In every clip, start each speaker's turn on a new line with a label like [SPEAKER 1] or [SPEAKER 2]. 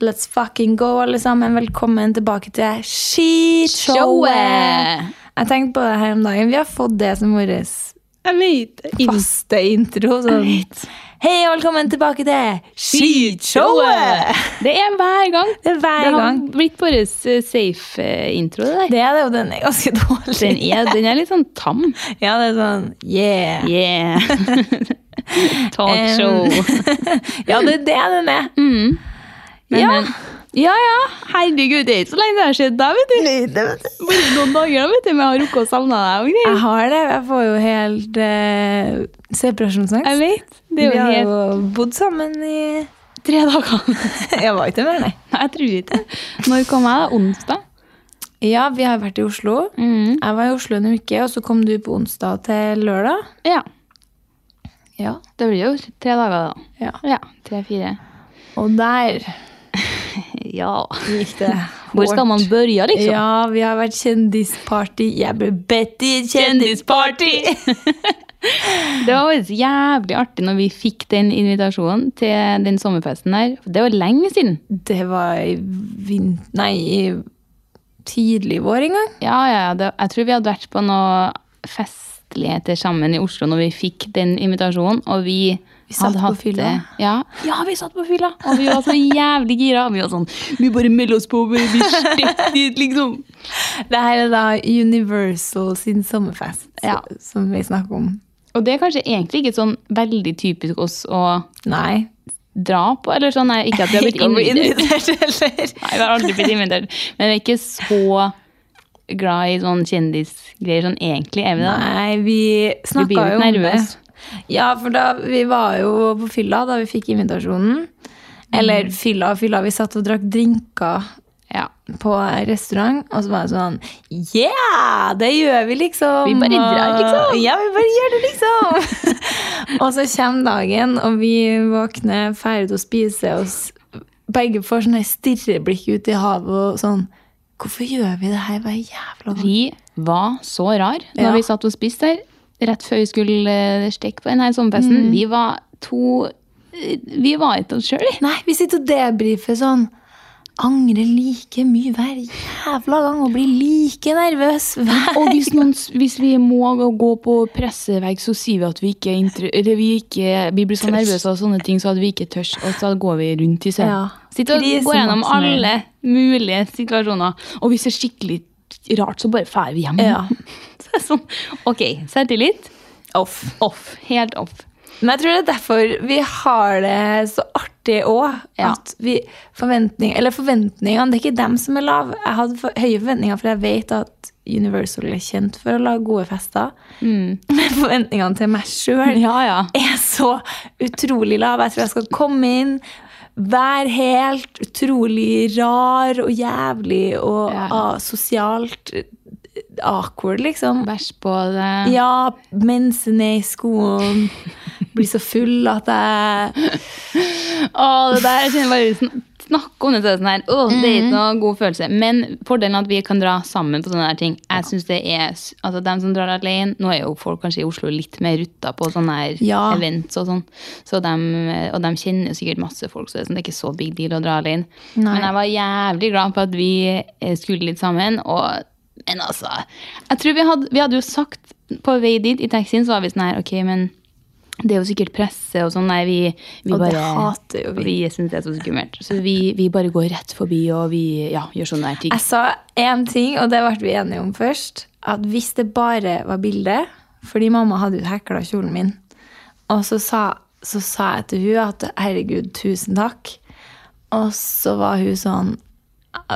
[SPEAKER 1] Let's fucking go, alle sammen. Velkommen tilbake til skishowet.
[SPEAKER 2] Showet!
[SPEAKER 1] Jeg tenkte på det her om dagen. Vi har fått det som vår
[SPEAKER 2] Jeg vet
[SPEAKER 1] faste intro. Sånn. Hei og velkommen tilbake til skishowet!
[SPEAKER 2] Det er hver gang.
[SPEAKER 1] Det er hver
[SPEAKER 2] det har
[SPEAKER 1] gang.
[SPEAKER 2] blitt vår eh, safe-intro, det der.
[SPEAKER 1] Det er det, og den er ganske dårlig.
[SPEAKER 2] Den er, den er litt sånn tam.
[SPEAKER 1] Ja, det er sånn yeah.
[SPEAKER 2] Yeah! Talkshow.
[SPEAKER 1] Um, ja, det er det den er.
[SPEAKER 2] Mm. Men,
[SPEAKER 1] Ja.
[SPEAKER 2] men, ja, ja. Herregud, det er ikke så lenge det har skjedd deg, vet du. Bare noen dager, da, vet du. Men jeg har rukket å savne deg og
[SPEAKER 1] Jeg
[SPEAKER 2] greier.
[SPEAKER 1] har det. Jeg får jo helt eh, separasjonsangst.
[SPEAKER 2] Jeg vet. Det er
[SPEAKER 1] Vi
[SPEAKER 2] jo
[SPEAKER 1] har
[SPEAKER 2] helt
[SPEAKER 1] jo bodd sammen i
[SPEAKER 2] tre dager.
[SPEAKER 1] Jeg var ikke med, nei.
[SPEAKER 2] Nei, jeg tror ikke det. Når kom jeg? da? Onsdag?
[SPEAKER 1] Ja, vi har vært i Oslo.
[SPEAKER 2] Mm.
[SPEAKER 1] Jeg var i Oslo en uke, og så kom du på onsdag til lørdag.
[SPEAKER 2] Ja.
[SPEAKER 1] Ja.
[SPEAKER 2] Det blir jo tre dager, da.
[SPEAKER 1] Ja.
[SPEAKER 2] Tre-fire.
[SPEAKER 1] Og der
[SPEAKER 2] Ja.
[SPEAKER 1] gikk det
[SPEAKER 2] Hvor skal man børje, liksom?
[SPEAKER 1] Ja, vi har vært kjendisparty. Jeg ble bedt i et kjendisparty!
[SPEAKER 2] Det var faktisk jævlig artig når vi fikk den invitasjonen til den sommerfesten der. Det var lenge siden.
[SPEAKER 1] Det var i vint... Nei, i tidlig vår en gang.
[SPEAKER 2] Ja, ja, ja, det, jeg tror vi hadde vært på noe festligheter sammen i Oslo når vi fikk den invitasjonen, og vi
[SPEAKER 1] Vi satt
[SPEAKER 2] hadde
[SPEAKER 1] på
[SPEAKER 2] hatt det-
[SPEAKER 1] fylla.
[SPEAKER 2] Ja. ja, vi satt på fylla, og vi var så jævlig gira. Vi var sånn, vi bare melder oss på, vi blir stept dit, liksom.
[SPEAKER 1] Det her er da Universal sin sommerfest,
[SPEAKER 2] Ja.
[SPEAKER 1] som vi snakker om.
[SPEAKER 2] Og det er kanskje egentlig ikke sånn veldig typisk oss å
[SPEAKER 1] Nei.
[SPEAKER 2] dra på, eller sånn, nei, ikke at vi har blitt
[SPEAKER 1] Ikke å bli
[SPEAKER 2] invitert.
[SPEAKER 1] invitert heller.
[SPEAKER 2] Nei, vi har aldri blitt invitert. Men vi er ikke så glad i sånn kjendisgreier sånn egentlig, er vi det?
[SPEAKER 1] Nei, vi
[SPEAKER 2] Vi blir
[SPEAKER 1] snakka
[SPEAKER 2] jo
[SPEAKER 1] jo om det.
[SPEAKER 2] nervøse.
[SPEAKER 1] Ja, for da, vi var jo på fylla da vi fikk invitasjonen. Eller
[SPEAKER 2] Mm.
[SPEAKER 1] fylla og fylla. Vi satt og drakk drinker
[SPEAKER 2] Ja.
[SPEAKER 1] på restaurant, og så var det sånn Yeah! Det gjør vi, liksom.
[SPEAKER 2] Vi bare
[SPEAKER 1] og-
[SPEAKER 2] drar, liksom.
[SPEAKER 1] Ja, vi bare gjør det, liksom. og så kommer dagen, og vi våkner ferdig til å spise oss. Begge får sånne stirreblikk ut i havet og sånn Hvorfor gjør vi det her hver jævla gang?
[SPEAKER 2] Vi var så rar når
[SPEAKER 1] Ja.
[SPEAKER 2] vi satt og spiste der, rett før vi skulle eh, stekke på denne sommerfesten. Vi var to eh, Vi var ikke oss sjøl, vi.
[SPEAKER 1] Nei, vi sitter og debrifer sånn. Angrer like mye hver jævla gang og blir like nervøs hver
[SPEAKER 2] Og hvis, noen, s- hvis vi må gå- gå på pressevegg, så sier vi at vi ikke er inter- eller vi, ikke, vi blir så nervøse av sånne ting, så at vi ikke tørs. Og så går vi rundt i søvn.
[SPEAKER 1] Ja.
[SPEAKER 2] Sitter og
[SPEAKER 1] Krise
[SPEAKER 2] går gjennom
[SPEAKER 1] maksimum.
[SPEAKER 2] alle mulige situasjoner. Og hvis det er skikkelig rart, så bare drar vi hjem.
[SPEAKER 1] Ja.
[SPEAKER 2] Så det er sånn, ok, selvtillit
[SPEAKER 1] off.
[SPEAKER 2] off. Helt off.
[SPEAKER 1] Men jeg tror det er derfor vi har det så artig òg.
[SPEAKER 2] Ja.
[SPEAKER 1] At vi forventning, Eller forventningene, det er ikke dem som er lave. Jeg hadde for, høye forventninger, for jeg vet at Universal er kjent for å lage gode fester. Men forventningene til meg sjøl
[SPEAKER 2] Ja, ja.
[SPEAKER 1] er så utrolig lav. Jeg tror jeg skal komme inn, være helt utrolig rar og jævlig og
[SPEAKER 2] Ja.
[SPEAKER 1] ah, sosialt eh, awkward, liksom.
[SPEAKER 2] Bæsj på det.
[SPEAKER 1] Ja, mensen er i skoen. Blir så full at jeg
[SPEAKER 2] Å, det der jeg kjenner bare sn- Snakke om det så er det sånn her. Å, det er
[SPEAKER 1] Mm.
[SPEAKER 2] ikke noe god følelse. Men fordelen er at vi kan dra sammen på sånne der ting. Jeg synes det er, s- altså dem som drar alene, Nå er jo folk kanskje i Oslo litt mer rutta på sånne her
[SPEAKER 1] Ja.
[SPEAKER 2] events og sånn. Så dem, eh, og de kjenner jo sikkert masse folk, så det er, sånn, det er ikke så big deal å dra alene.
[SPEAKER 1] Nei.
[SPEAKER 2] Men jeg var jævlig glad for at vi eh, skulle litt sammen. Og, men altså jeg tror vi hadde, vi hadde jo sagt på vei dit i taxien, så var vi sånn her Ok, men det er jo sikkert presse og sånn. Nei, vi, vi
[SPEAKER 1] Og
[SPEAKER 2] bare
[SPEAKER 1] det hater jo vi.
[SPEAKER 2] vi syns det er så skummelt. Så vi, vi bare går rett forbi og vi ja, gjør sånne der ting.
[SPEAKER 1] Jeg sa én ting, og det ble vi enige om først. At hvis det bare var bilde Fordi mamma hadde jo hekla kjolen min. Og så sa, så sa jeg til hun at herregud, tusen takk. Og så var hun sånn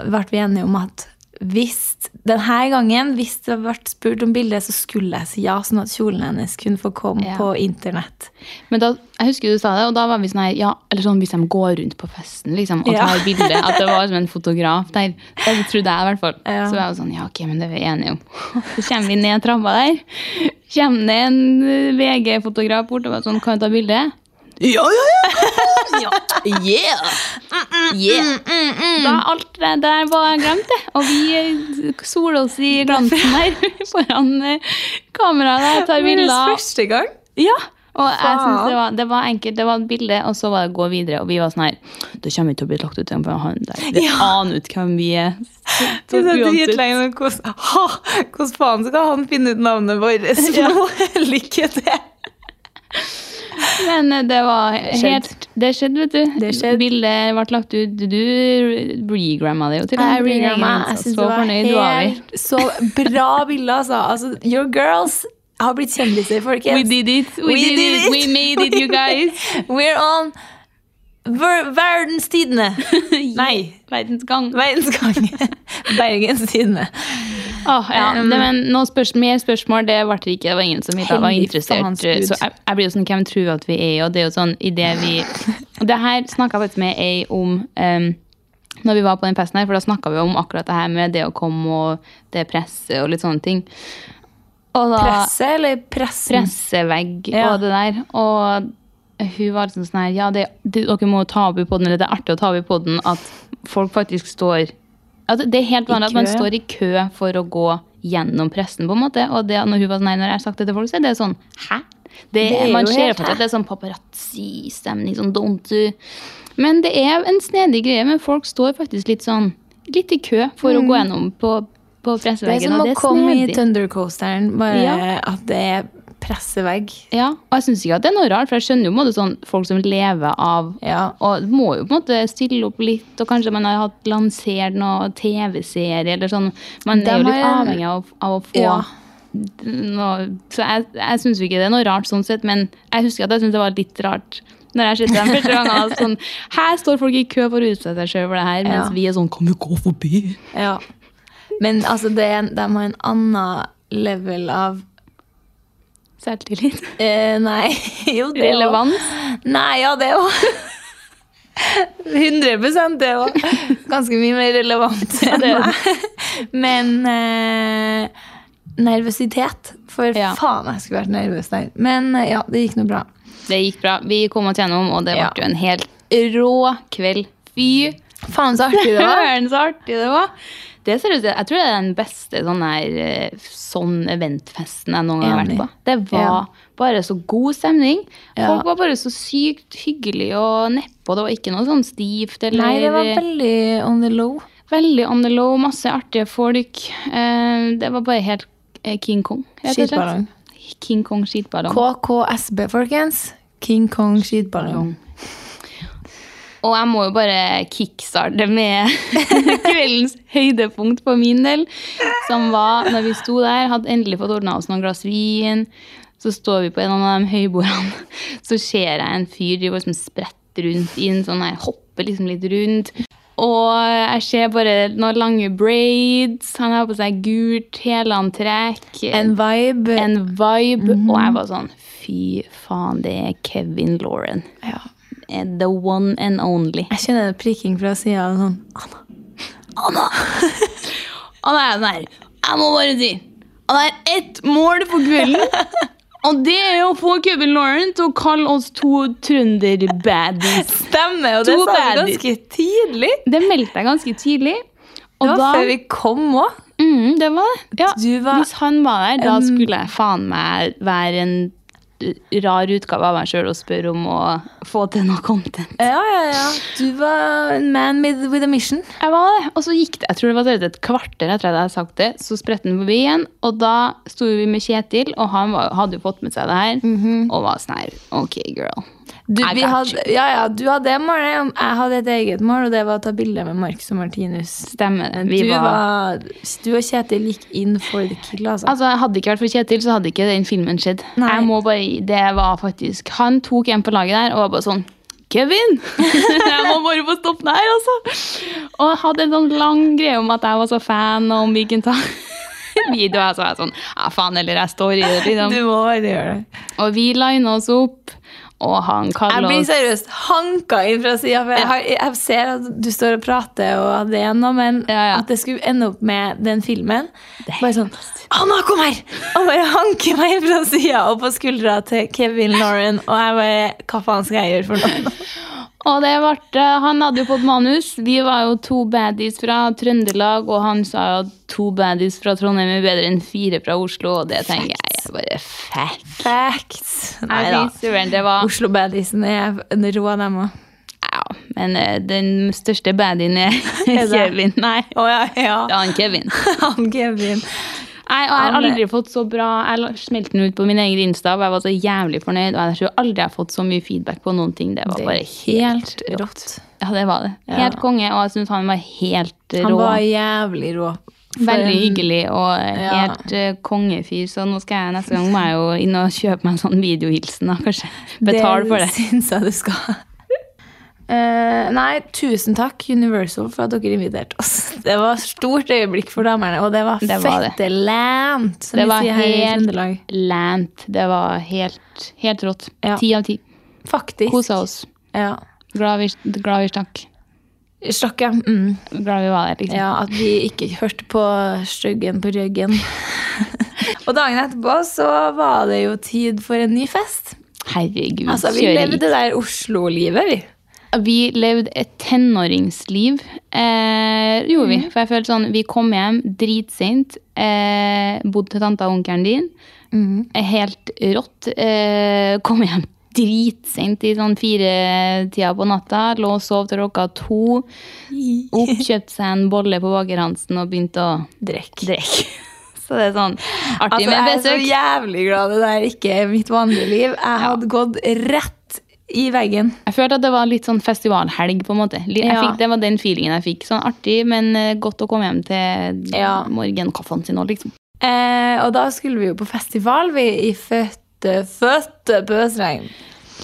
[SPEAKER 1] Ble vi enige om at hvis denne gangen, hvis det ble spurt om bilde, så skulle jeg si ja, sånn at kjolen hennes kunne få komme
[SPEAKER 2] Ja.
[SPEAKER 1] på internett.
[SPEAKER 2] Men da, jeg husker du sa det, og da var vi sånn her ja, eller sånn hvis de går rundt på festen liksom, og
[SPEAKER 1] Ja.
[SPEAKER 2] tar bilde. At det var som en fotograf der. Det trodde jeg i hvert fall.
[SPEAKER 1] Ja.
[SPEAKER 2] Så var jeg jo sånn ja, ok, men det er vi enige om. Så kommer vi ned trappa der. Kommer det en eh, VG-fotograf bort og var sånn kan du ta bilde?
[SPEAKER 1] Ja, ja, ja!
[SPEAKER 2] Yeah!
[SPEAKER 1] Mm,
[SPEAKER 2] Da alt det der var glemt, det. Og vi eh, soler oss i glansen her foran eh, kameraet der, tar
[SPEAKER 1] Minnes
[SPEAKER 2] bilder.
[SPEAKER 1] første gang.
[SPEAKER 2] Ja, Og jeg
[SPEAKER 1] Faen.
[SPEAKER 2] synes det var, det var enkelt, det var et bilde, og så var det å gå videre. Og vi var sånn her Da kommer vi til å bli lagt ut igjen, for han der Det aner ut hvem vi er. Så,
[SPEAKER 1] Vi satt
[SPEAKER 2] uansett.
[SPEAKER 1] dritlenge og hvordan ha, hvordan faen skal han finne ut navnet vårt? Ja. Lykke til!
[SPEAKER 2] Men eh, det var helt
[SPEAKER 1] Skjedd.
[SPEAKER 2] Det skjedde, vet du.
[SPEAKER 1] Det skjedde.
[SPEAKER 2] Bildet ble lagt ut. Du regramma det jo til
[SPEAKER 1] Jeg
[SPEAKER 2] og med.
[SPEAKER 1] regret meg. Jeg
[SPEAKER 2] Så
[SPEAKER 1] synes det var
[SPEAKER 2] fornøyd var vi.
[SPEAKER 1] helt så bra bilde, altså. altså. Your girls har blitt kjendiser, folkens.
[SPEAKER 2] We did it. We, did, it. We made it, you guys.
[SPEAKER 1] We're on ver Verdens Tidende. Nei.
[SPEAKER 2] Verdens gang.
[SPEAKER 1] Verdens gang. Bergens Tidende.
[SPEAKER 2] Åh, ja. det, men noen spørsmål, mer spørsmål det ble det ikke. Det var ingen som ville- var
[SPEAKER 1] Hellig
[SPEAKER 2] interessert.
[SPEAKER 1] faens
[SPEAKER 2] Så
[SPEAKER 1] Gud.
[SPEAKER 2] jeg, jeg blir jo sånn, hvem tror at vi er? Og det er jo sånn, i det vi... Og det her snakket jeg faktisk med ei om em, når vi var på den festen her, for da snakket vi om akkurat det her med det å komme og det presset og litt sånne ting. Og da...
[SPEAKER 1] Presse eller pressen?
[SPEAKER 2] pressevegg
[SPEAKER 1] Ja.
[SPEAKER 2] og det der. Og hun var liksom sånn her Ja, det, det, dere må ta opp i podden, eller det er artig å ta opp i podden at folk faktisk står at Det er helt vanlig at man
[SPEAKER 1] kø.
[SPEAKER 2] står i kø for å gå gjennom pressen, på en måte. Og det, når hun var sånn her, når jeg har sagt det til folk, så er det sånn Hæ? Det,
[SPEAKER 1] Det er
[SPEAKER 2] man
[SPEAKER 1] jo
[SPEAKER 2] ser
[SPEAKER 1] helt
[SPEAKER 2] for seg at det er sånn paparazzi-stemning, sånn don't do Men det er en snedig greie, men folk står faktisk litt sånn Litt i kø for å gå gjennom på, på
[SPEAKER 1] Mm. Det er
[SPEAKER 2] presseveggen.
[SPEAKER 1] som
[SPEAKER 2] og
[SPEAKER 1] å
[SPEAKER 2] det er
[SPEAKER 1] komme i
[SPEAKER 2] snedig.
[SPEAKER 1] Thundercoasteren, bare
[SPEAKER 2] Ja.
[SPEAKER 1] at det er pressevegg.
[SPEAKER 2] Ja, og jeg syns ikke at det er noe rart, for jeg skjønner jo på en måte sånn folk som lever av
[SPEAKER 1] Ja.
[SPEAKER 2] Og må jo på en måte stille opp litt, og kanskje man har hatt lansert noe TV-serie eller sånn. Man
[SPEAKER 1] De
[SPEAKER 2] er jo litt
[SPEAKER 1] har-
[SPEAKER 2] avhengig av, av å få
[SPEAKER 1] Ja.
[SPEAKER 2] noe Så jeg, jeg syns jo ikke det er noe rart sånn sett, men jeg husker at jeg syntes det var litt rart. Når jeg sitter den første gangen og sånn Her står folk i kø for å utsette seg sjøl for det her,
[SPEAKER 1] Ja.
[SPEAKER 2] mens vi er sånn Kan vi gå forbi?
[SPEAKER 1] Ja. Men altså, det, er- de har en annen level av
[SPEAKER 2] Selvtillit.
[SPEAKER 1] eh, Nei, jo, det også.
[SPEAKER 2] Relevans.
[SPEAKER 1] Nei, ja, det òg. 100 det òg. Ganske mye mer relevant. enn
[SPEAKER 2] det er
[SPEAKER 1] meg.
[SPEAKER 2] det.
[SPEAKER 1] Men eh, nervøsitet. For
[SPEAKER 2] Ja.
[SPEAKER 1] faen, jeg skulle vært nervøs der. Men eh, ja, det gikk nå bra.
[SPEAKER 2] Det gikk bra. Vi kom oss gjennom, og det
[SPEAKER 1] Ja.
[SPEAKER 2] ble jo en helt rå kveld. Fy
[SPEAKER 1] Faen, så artig det var.
[SPEAKER 2] Søren, så artig det var! Det er seriøst, jeg tror det er den beste sånn her eh, sånn eventfesten jeg noen gang har vært
[SPEAKER 1] Enig.
[SPEAKER 2] på. Det var
[SPEAKER 1] Ja.
[SPEAKER 2] bare så god stemning.
[SPEAKER 1] Ja.
[SPEAKER 2] Folk var bare så sykt hyggelige og nedpå. Det var ikke noe sånn stivt eller
[SPEAKER 1] Nei, det var veldig on the low.
[SPEAKER 2] veldig on the low. Masse artige folk. Eh, Det var bare helt eh, King Kong. rett og slett.
[SPEAKER 1] Skitballong.
[SPEAKER 2] King Kong skitballong.
[SPEAKER 1] KKSB, folkens. King Kong skitballong.
[SPEAKER 2] Og jeg må jo bare kickstarte med kveldens høydepunkt på min del. Som var når vi sto der, hadde endelig fått ordna oss noen glass vin. Så står vi på en av de høybordene, så ser jeg en fyr driver liksom spretter rundt inn. sånn her, Hopper liksom litt rundt. Og jeg ser bare noen lange braids. Han har på seg gult helantrekk.
[SPEAKER 1] En Mhm. vibe.
[SPEAKER 2] en vibe. Og jeg var sånn Fy faen, det er Kevin Lauren. Eh,
[SPEAKER 1] Ja.
[SPEAKER 2] The one and only.
[SPEAKER 1] Jeg kjenner det prikking fra sida. Sånn.
[SPEAKER 2] Anna! Anna er sånn her. Jeg må bare si at det er ett mål for kvelden. Og det er å få Kevin Lauren til å kalle oss to trønder-baddies.
[SPEAKER 1] Stemmer, og
[SPEAKER 2] det
[SPEAKER 1] det
[SPEAKER 2] sa
[SPEAKER 1] sa du
[SPEAKER 2] du ganske
[SPEAKER 1] ganske tidlig.
[SPEAKER 2] Det meldte jeg ganske tidlig. Og
[SPEAKER 1] Det var
[SPEAKER 2] da,
[SPEAKER 1] før vi kom òg.
[SPEAKER 2] mm, det var det. Ja,
[SPEAKER 1] Du var-
[SPEAKER 2] hvis han var der, da skulle jeg faen meg være en eh, rar utgave av meg sjøl og spørre om å få til noe content.
[SPEAKER 1] Ja, ja, ja. Du var en man with, with a mission.
[SPEAKER 2] Jeg var det, og så gikk det, jeg tror det var et kvarter etter at jeg hadde sagt det, så spredte den forbi igjen, og da sto vi med Kjetil, og han var, hadde jo fått med seg det her,
[SPEAKER 1] Mhm.
[SPEAKER 2] og var sånn her, ok girl.
[SPEAKER 1] Du,
[SPEAKER 2] I
[SPEAKER 1] vi
[SPEAKER 2] got
[SPEAKER 1] hadde, ja, ja, du hadde det målet, jeg hadde et eget mål, og det var å ta bilde med Marcus og Martinus.
[SPEAKER 2] Stemmer det,
[SPEAKER 1] Men
[SPEAKER 2] vi
[SPEAKER 1] du,
[SPEAKER 2] var...
[SPEAKER 1] var, du og Kjetil gikk inn for the kill, altså.
[SPEAKER 2] Altså, Hadde det ikke vært for Kjetil, så hadde ikke den filmen skjedd.
[SPEAKER 1] Nei.
[SPEAKER 2] Jeg må bare, det var faktisk, Han tok en på laget der og var bare sånn Kevin! jeg må bare få stoppe det her, altså! Og hadde en sånn lang greie om at jeg var så fan, og om vi kunne ta video. Og så var jeg sånn Ja, faen, eller jeg står i det, liksom.
[SPEAKER 1] Du må bare gjøre det.
[SPEAKER 2] Og vi lina oss opp, og han
[SPEAKER 1] Jeg
[SPEAKER 2] kaller
[SPEAKER 1] blir
[SPEAKER 2] oss
[SPEAKER 1] seriøst hanka inn fra sida. For jeg, har, jeg ser at du står og prater, og at det er noe, men
[SPEAKER 2] Ja, ja.
[SPEAKER 1] at det skulle ende opp med den filmen Bare sånn Anna, kom her! Og bare hanker meg inn fra sida og på skuldra til Kevin Lauren. Og jeg bare Hva faen skal jeg gjøre for noe?
[SPEAKER 2] Og det ble, han hadde jo fått manus. Vi var jo to baddies fra Trøndelag, og han sa jo at to baddies fra Trondheim er bedre enn fire fra Oslo, og det tenker jeg
[SPEAKER 1] Facts.
[SPEAKER 2] Bare facts.
[SPEAKER 1] Facts. Nei
[SPEAKER 2] Jeg
[SPEAKER 1] da.
[SPEAKER 2] synes surrender var
[SPEAKER 1] Oslo-baddisen er en rå, dem òg.
[SPEAKER 2] Ja, men eh, den største baddien er
[SPEAKER 1] Er det?
[SPEAKER 2] Kevin. Nei, det
[SPEAKER 1] Å ja,
[SPEAKER 2] er han Kevin.
[SPEAKER 1] Han Kevin.
[SPEAKER 2] Jeg, og jeg har
[SPEAKER 1] Han er-
[SPEAKER 2] aldri fått så bra Jeg la- smelte den ut på min egen Insta, og jeg var så jævlig fornøyd. Og jeg tror aldri jeg har fått så mye feedback på noen ting. Det var
[SPEAKER 1] Det er
[SPEAKER 2] bare helt
[SPEAKER 1] helt
[SPEAKER 2] rått.
[SPEAKER 1] rått.
[SPEAKER 2] Ja, det var det. Helt konge, og jeg syns han var helt
[SPEAKER 1] Han
[SPEAKER 2] rå.
[SPEAKER 1] var jævlig rå. For
[SPEAKER 2] Veldig
[SPEAKER 1] en-
[SPEAKER 2] hyggelig og
[SPEAKER 1] Ja.
[SPEAKER 2] helt eh, kongefyr, så nå skal jeg neste gang må jeg jo inn og kjøpe meg en sånn videohilsen, da, kanskje. Betale for det.
[SPEAKER 1] syns jeg du skal. Eh, nei, tusen takk, Universal, for at dere inviterte oss. Det var stort øyeblikk for damene, og det var,
[SPEAKER 2] Det var det.
[SPEAKER 1] fette lent, som
[SPEAKER 2] Det
[SPEAKER 1] vi
[SPEAKER 2] var
[SPEAKER 1] sier her i
[SPEAKER 2] helt
[SPEAKER 1] Trøndelag.
[SPEAKER 2] lant. Det var helt, helt rått.
[SPEAKER 1] Ja.
[SPEAKER 2] Ti av ti.
[SPEAKER 1] Faktisk.
[SPEAKER 2] Kosa oss.
[SPEAKER 1] Ja.
[SPEAKER 2] Glad vi, glad vi stakk.
[SPEAKER 1] Stakk, ja. Mm.
[SPEAKER 2] Glad vi var der, liksom.
[SPEAKER 1] ja. At vi ikke hørte på styggen på ryggen. og dagen etterpå så var det jo tid for en ny fest.
[SPEAKER 2] Herregud,
[SPEAKER 1] Altså, vi
[SPEAKER 2] kjører
[SPEAKER 1] levde det der Oslo-livet, vi.
[SPEAKER 2] Vi levde et tenåringsliv. Eh, gjorde vi. For jeg følte sånn, vi kom hjem dritsent. Eh, bodde til tanta og onkelen din. eh, Helt rått. Eh, kom hjem dritsent i sånn firetida på natta. Lå og sov til klokka to. Opp, kjøpte seg en bolle på Baker Hansen og begynte å
[SPEAKER 1] Drekk.
[SPEAKER 2] drikke. Så det er sånn
[SPEAKER 1] Altså,
[SPEAKER 2] artig med
[SPEAKER 1] jeg er så
[SPEAKER 2] besøk.
[SPEAKER 1] jævlig glad det der ikke er mitt vanlige liv. Jeg hadde gått rett i veggen.
[SPEAKER 2] Jeg følte at det var litt sånn festivalhelg, på en måte. Li- Jeg
[SPEAKER 1] Ja.
[SPEAKER 2] fikk, det var den feelingen jeg fikk. Sånn artig, men eh, godt å komme hjem til
[SPEAKER 1] Ja.
[SPEAKER 2] morgenkaffen sin òg, liksom.
[SPEAKER 1] Eh, og da skulle vi jo på festival, vi, i fødte, fødte Bøsregn.